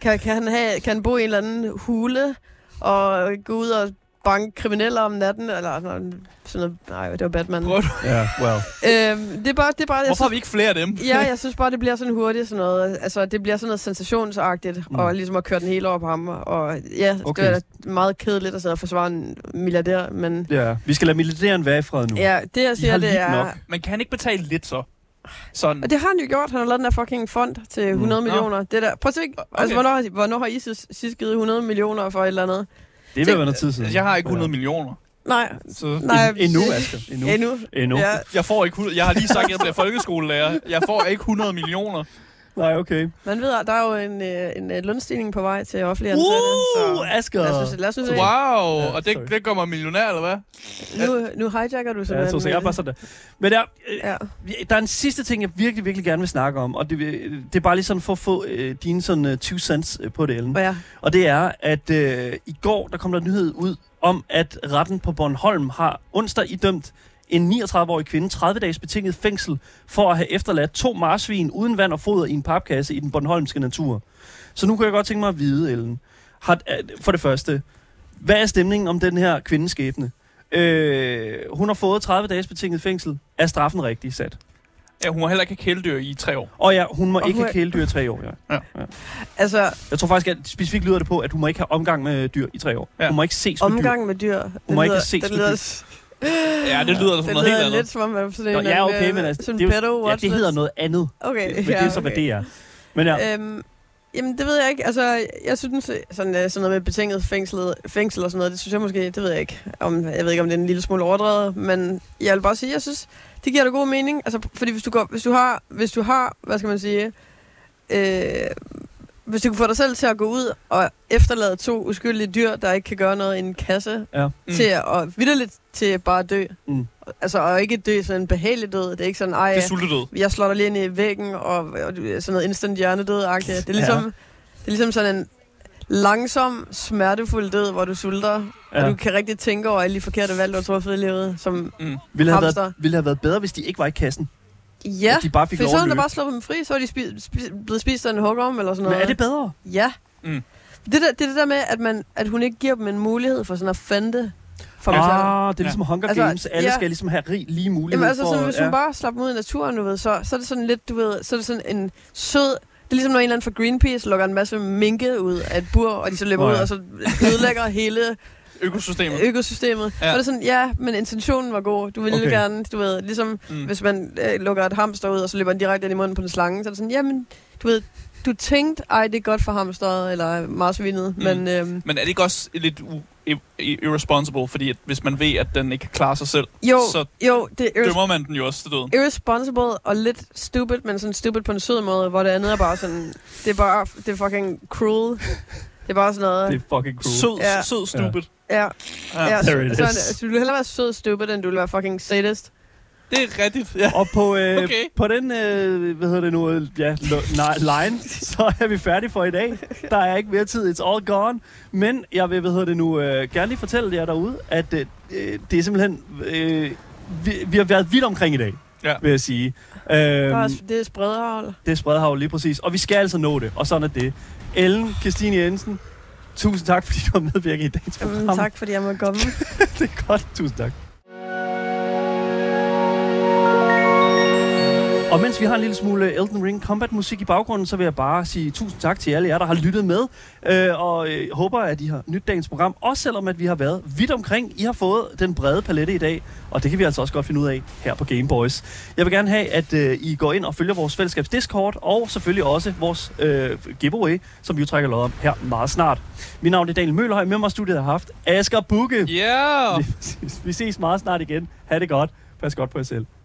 Speaker 4: Kan, kan, han, have, kan han bo i en eller anden hule og gå ud og banke krimineller om natten? Eller sådan noget, nej, det var Batman.
Speaker 3: Prøv at-
Speaker 2: Ja, well.
Speaker 4: Øhm, det er bare, det er bare, jeg
Speaker 3: Hvorfor har
Speaker 4: synes,
Speaker 3: vi ikke flere af dem?
Speaker 4: ja,
Speaker 3: <laughs>
Speaker 4: jeg synes bare, det bliver sådan hurtigt sådan noget. Altså, det bliver sådan noget sensationsagtigt,
Speaker 2: Mm.
Speaker 4: mm. og ligesom at køre den hele over på ham. Og ja,
Speaker 2: Okay.
Speaker 4: okay. det er meget kedeligt at sidde og forsvare en milliardær, men...
Speaker 2: Ja. Vi skal lade militæren være i fred nu.
Speaker 4: Ja, det jeg
Speaker 2: De har
Speaker 4: siger, det
Speaker 2: lidt
Speaker 4: er...
Speaker 2: nok.
Speaker 3: Men kan han ikke betale lidt så? Sådan.
Speaker 4: Og det har han jo gjort. Han har lavet den der fucking fond til 100
Speaker 3: Nå.
Speaker 4: millioner. Det der. Prøv at se,
Speaker 3: Okay.
Speaker 4: altså, hvornår, har- hvornår har I sidst, sidst givet 100 millioner for et eller andet?
Speaker 2: Det vil være noget tid siden.
Speaker 3: Jeg har ikke 100 millioner.
Speaker 4: Nej,
Speaker 3: Så
Speaker 4: nej.
Speaker 2: En- Endnu, Asger. Endnu.
Speaker 4: Endnu.
Speaker 2: Endnu.
Speaker 4: Ja.
Speaker 3: jeg får ikke 100. Jeg har lige sagt, at jeg bliver folkeskolelærer. Jeg får ikke 100
Speaker 4: <laughs>
Speaker 3: millioner.
Speaker 2: Nej, okay.
Speaker 4: Man ved, at der er jo en, øh, en øh, lønstigning på vej til offentlige ansatte.
Speaker 2: Uh,
Speaker 4: så
Speaker 2: Asger!
Speaker 4: lad os, lad os nu se.
Speaker 3: Wow,
Speaker 2: Ja,
Speaker 3: og det,
Speaker 2: sorry.
Speaker 3: det gør mig millionær, eller hvad?
Speaker 4: Nu, nu hijacker
Speaker 2: Ja,
Speaker 4: du
Speaker 2: jeg
Speaker 4: simpelthen. øh,
Speaker 2: tog sig. Jeg er bare sådan der. Men der, øh,
Speaker 4: Ja.
Speaker 2: der er en sidste ting, jeg virkelig, virkelig gerne vil snakke om, og det, vil- det er bare lige sådan for at få øh, dine sådan, øh, 20 cents øh, på det, Ellen.
Speaker 4: Og ja.
Speaker 2: Og det er, at øh, i går, der kom der en nyhed ud om, at retten på Bornholm har onsdag idømt en 39-årig kvinde 30 dages betinget fængsel for at have efterladt to marsvin uden vand og foder i en papkasse i den bornholmske natur. Så nu kan jeg godt tænke mig at vide, Ellen, har, øh, for det første, hvad er stemningen om den her kvindes skæbne? Øh, hun har fået 30 dages betinget fængsel. Er straffen rigtig sat?
Speaker 3: Ja, hun har heller ikke haft kæledyr i tre år.
Speaker 2: Og ja, hun må
Speaker 4: Og
Speaker 2: ikke
Speaker 4: hun
Speaker 2: have
Speaker 4: er-
Speaker 2: kæledyr i tre år. Ja.
Speaker 4: Altså,
Speaker 2: Jeg tror faktisk, at specifikt lyder det på, at hun må ikke have omgang med øh, dyr i tre år.
Speaker 3: Ja.
Speaker 2: Hun må ikke ses med dyr.
Speaker 4: omgang med dyr. Det
Speaker 2: må ikke
Speaker 4: lyder-
Speaker 2: ses
Speaker 4: det
Speaker 2: med
Speaker 4: lyder
Speaker 2: dyr.
Speaker 4: s-
Speaker 3: Ja, det lyder da som noget
Speaker 4: Det
Speaker 3: helt
Speaker 4: lyder lidt
Speaker 3: andet.
Speaker 4: som om, man er på sådan
Speaker 2: Nå,
Speaker 4: en...
Speaker 2: ja,
Speaker 4: anden,
Speaker 2: okay,
Speaker 4: øh,
Speaker 2: men altså,
Speaker 4: sådan
Speaker 2: det er jo-
Speaker 4: pedo
Speaker 2: Ja, det
Speaker 4: watchlist.
Speaker 2: hedder noget andet.
Speaker 4: Okay,
Speaker 2: Men det er så, hvad det er. Men ja,
Speaker 4: okay. Øhm, jamen, det ved jeg ikke. Altså, jeg synes, sådan, øh, sådan noget med betinget fængsel, fængsel og sådan noget, det synes jeg måske, det ved jeg ikke. Om, jeg ved ikke, om det er en lille smule overdrevet, men jeg vil bare sige, jeg synes, det giver da god mening. Altså, fordi hvis du, går, hvis du, har, hvis du har, hvad skal man sige, øh, hvis du kan få dig selv til at gå ud og efterlade to uskyldige dyr, der ikke kan gøre noget i en kasse,
Speaker 2: Ja.
Speaker 3: Mm.
Speaker 4: mm. til at vidderligt til bare at dø.
Speaker 2: Mm.
Speaker 4: Altså, og ikke dø sådan en behagelig død. Det er ikke sådan, ej,
Speaker 3: Det er sultedød.
Speaker 4: jeg slår dig lige ind i væggen, og, og du- sådan noget instant hjernedød-agtigt. Det er ligesom, ja. det er ligesom sådan en langsom, smertefuld død, hvor du sulter, ja. og
Speaker 2: ja.
Speaker 4: du kan rigtig tænke over alle de forkerte valg, du har truffet i livet. Som,
Speaker 2: Ville, have været,
Speaker 4: hamster.
Speaker 2: ville have været bedre, hvis de ikke var i kassen.
Speaker 4: ja,
Speaker 2: At de bare fik
Speaker 4: for
Speaker 2: lov
Speaker 4: så
Speaker 2: at
Speaker 4: havde
Speaker 2: løbe.
Speaker 4: der bare slået dem fri, så var de spi- spi- blevet spist af en hugorm eller sådan
Speaker 2: Men
Speaker 4: noget.
Speaker 2: er det bedre?
Speaker 4: Ja.
Speaker 3: Mm.
Speaker 4: Det, der, det er det der med, at, man, at hun ikke giver dem en mulighed for sådan at fande for dem selv.
Speaker 2: Ah, det er ligesom Hunger
Speaker 4: Altså,
Speaker 2: Games. Alle
Speaker 4: ja.
Speaker 2: skal ligesom have rig, lige mulighed
Speaker 4: Jamen altså,
Speaker 2: for...
Speaker 4: sådan, hvis hun
Speaker 2: ja.
Speaker 4: bare slapper ud i naturen, du ved, så, så er det sådan lidt, du ved, så er det sådan en sød... Det er ligesom, når en eller anden fra Greenpeace lukker en masse minke ud af et bur, og de så løber
Speaker 2: Nå ja.
Speaker 4: ud, og så ødelægger hele
Speaker 3: Økosystemet.
Speaker 4: økosystemet.
Speaker 3: Ja.
Speaker 4: Ja. Og det er sådan, ja, men intentionen var god. Du ville
Speaker 2: Okay.
Speaker 4: okay. gerne, du ved, ligesom
Speaker 3: Mm.
Speaker 4: hvis man øh, lukker et hamster ud, og så løber den direkte ind i munden på en slange, så er det sådan, jamen, du ved, du tænkte, ej, det er godt for hamsteret, eller marsvinet,
Speaker 3: Mm.
Speaker 4: mm. men... Øhm,
Speaker 3: Men er det ikke også lidt u- i- i- irresponsible, fordi at hvis man ved, at den ikke klarer sig selv,
Speaker 4: jo,
Speaker 3: så
Speaker 4: jo, det er
Speaker 3: dømmer man den jo også til døden.
Speaker 4: irresponsible og lidt stupid, men sådan stupid på en sød måde, hvor det andet er bare sådan, det er bare, det er fucking cruel. Det er bare sådan noget.
Speaker 2: Det er fucking cool.
Speaker 3: Sød,
Speaker 4: Ja.
Speaker 3: sød stupid.
Speaker 4: ja, ja,
Speaker 2: there it
Speaker 4: så,
Speaker 2: is.
Speaker 4: sådan, så du vil hellere være sød stupid, end du vil være fucking sadist.
Speaker 3: Det er rigtigt, ja.
Speaker 2: Og på, øh, okay.
Speaker 3: Okay.
Speaker 2: på den, øh, hvad hedder det nu, øh, ja, lo- nej, line, så er vi færdige for i dag. Der er ikke mere tid, it's all gone. Men jeg vil, hvad hedder det nu, øh, gerne lige fortælle jer derude, at øh, øh, det er simpelthen, øh, vi, vi har været vidt omkring i dag,
Speaker 3: Ja.
Speaker 2: vil jeg sige.
Speaker 4: Det
Speaker 2: Øhm,
Speaker 4: er, det er spredhavl.
Speaker 2: Det er spredhav lige præcis. Og vi skal altså nå det, og sådan er det. Ellen Christine Jensen, tusind tak, fordi du har medvirket i dagens program.
Speaker 4: Jamen, tak, fordi jeg måtte komme.
Speaker 2: <laughs> Det er godt. Tusind tak. Og mens vi har en lille smule Elden Ring Combat musik i baggrunden, så vil jeg bare sige tusind tak til alle jer, der har lyttet med. Øh, og øh, håber, at I har nyt dagens program, også selvom at vi har været vidt omkring. I har fået den brede palette i dag, og det kan vi altså også godt finde ud af her på Game Boys. Jeg vil gerne have, at øh, I går ind og følger vores fællesskabs Discord, og selvfølgelig også vores øh, giveaway, som vi jo trækker lod om her meget snart. Mit navn er Daniel Møllerhøj, med mig i studiet har jeg haft Asger Bukke.
Speaker 3: Ja! Yeah.
Speaker 2: Lige præcis. Vi ses meget snart igen. Ha' det godt. Pas godt på jer selv.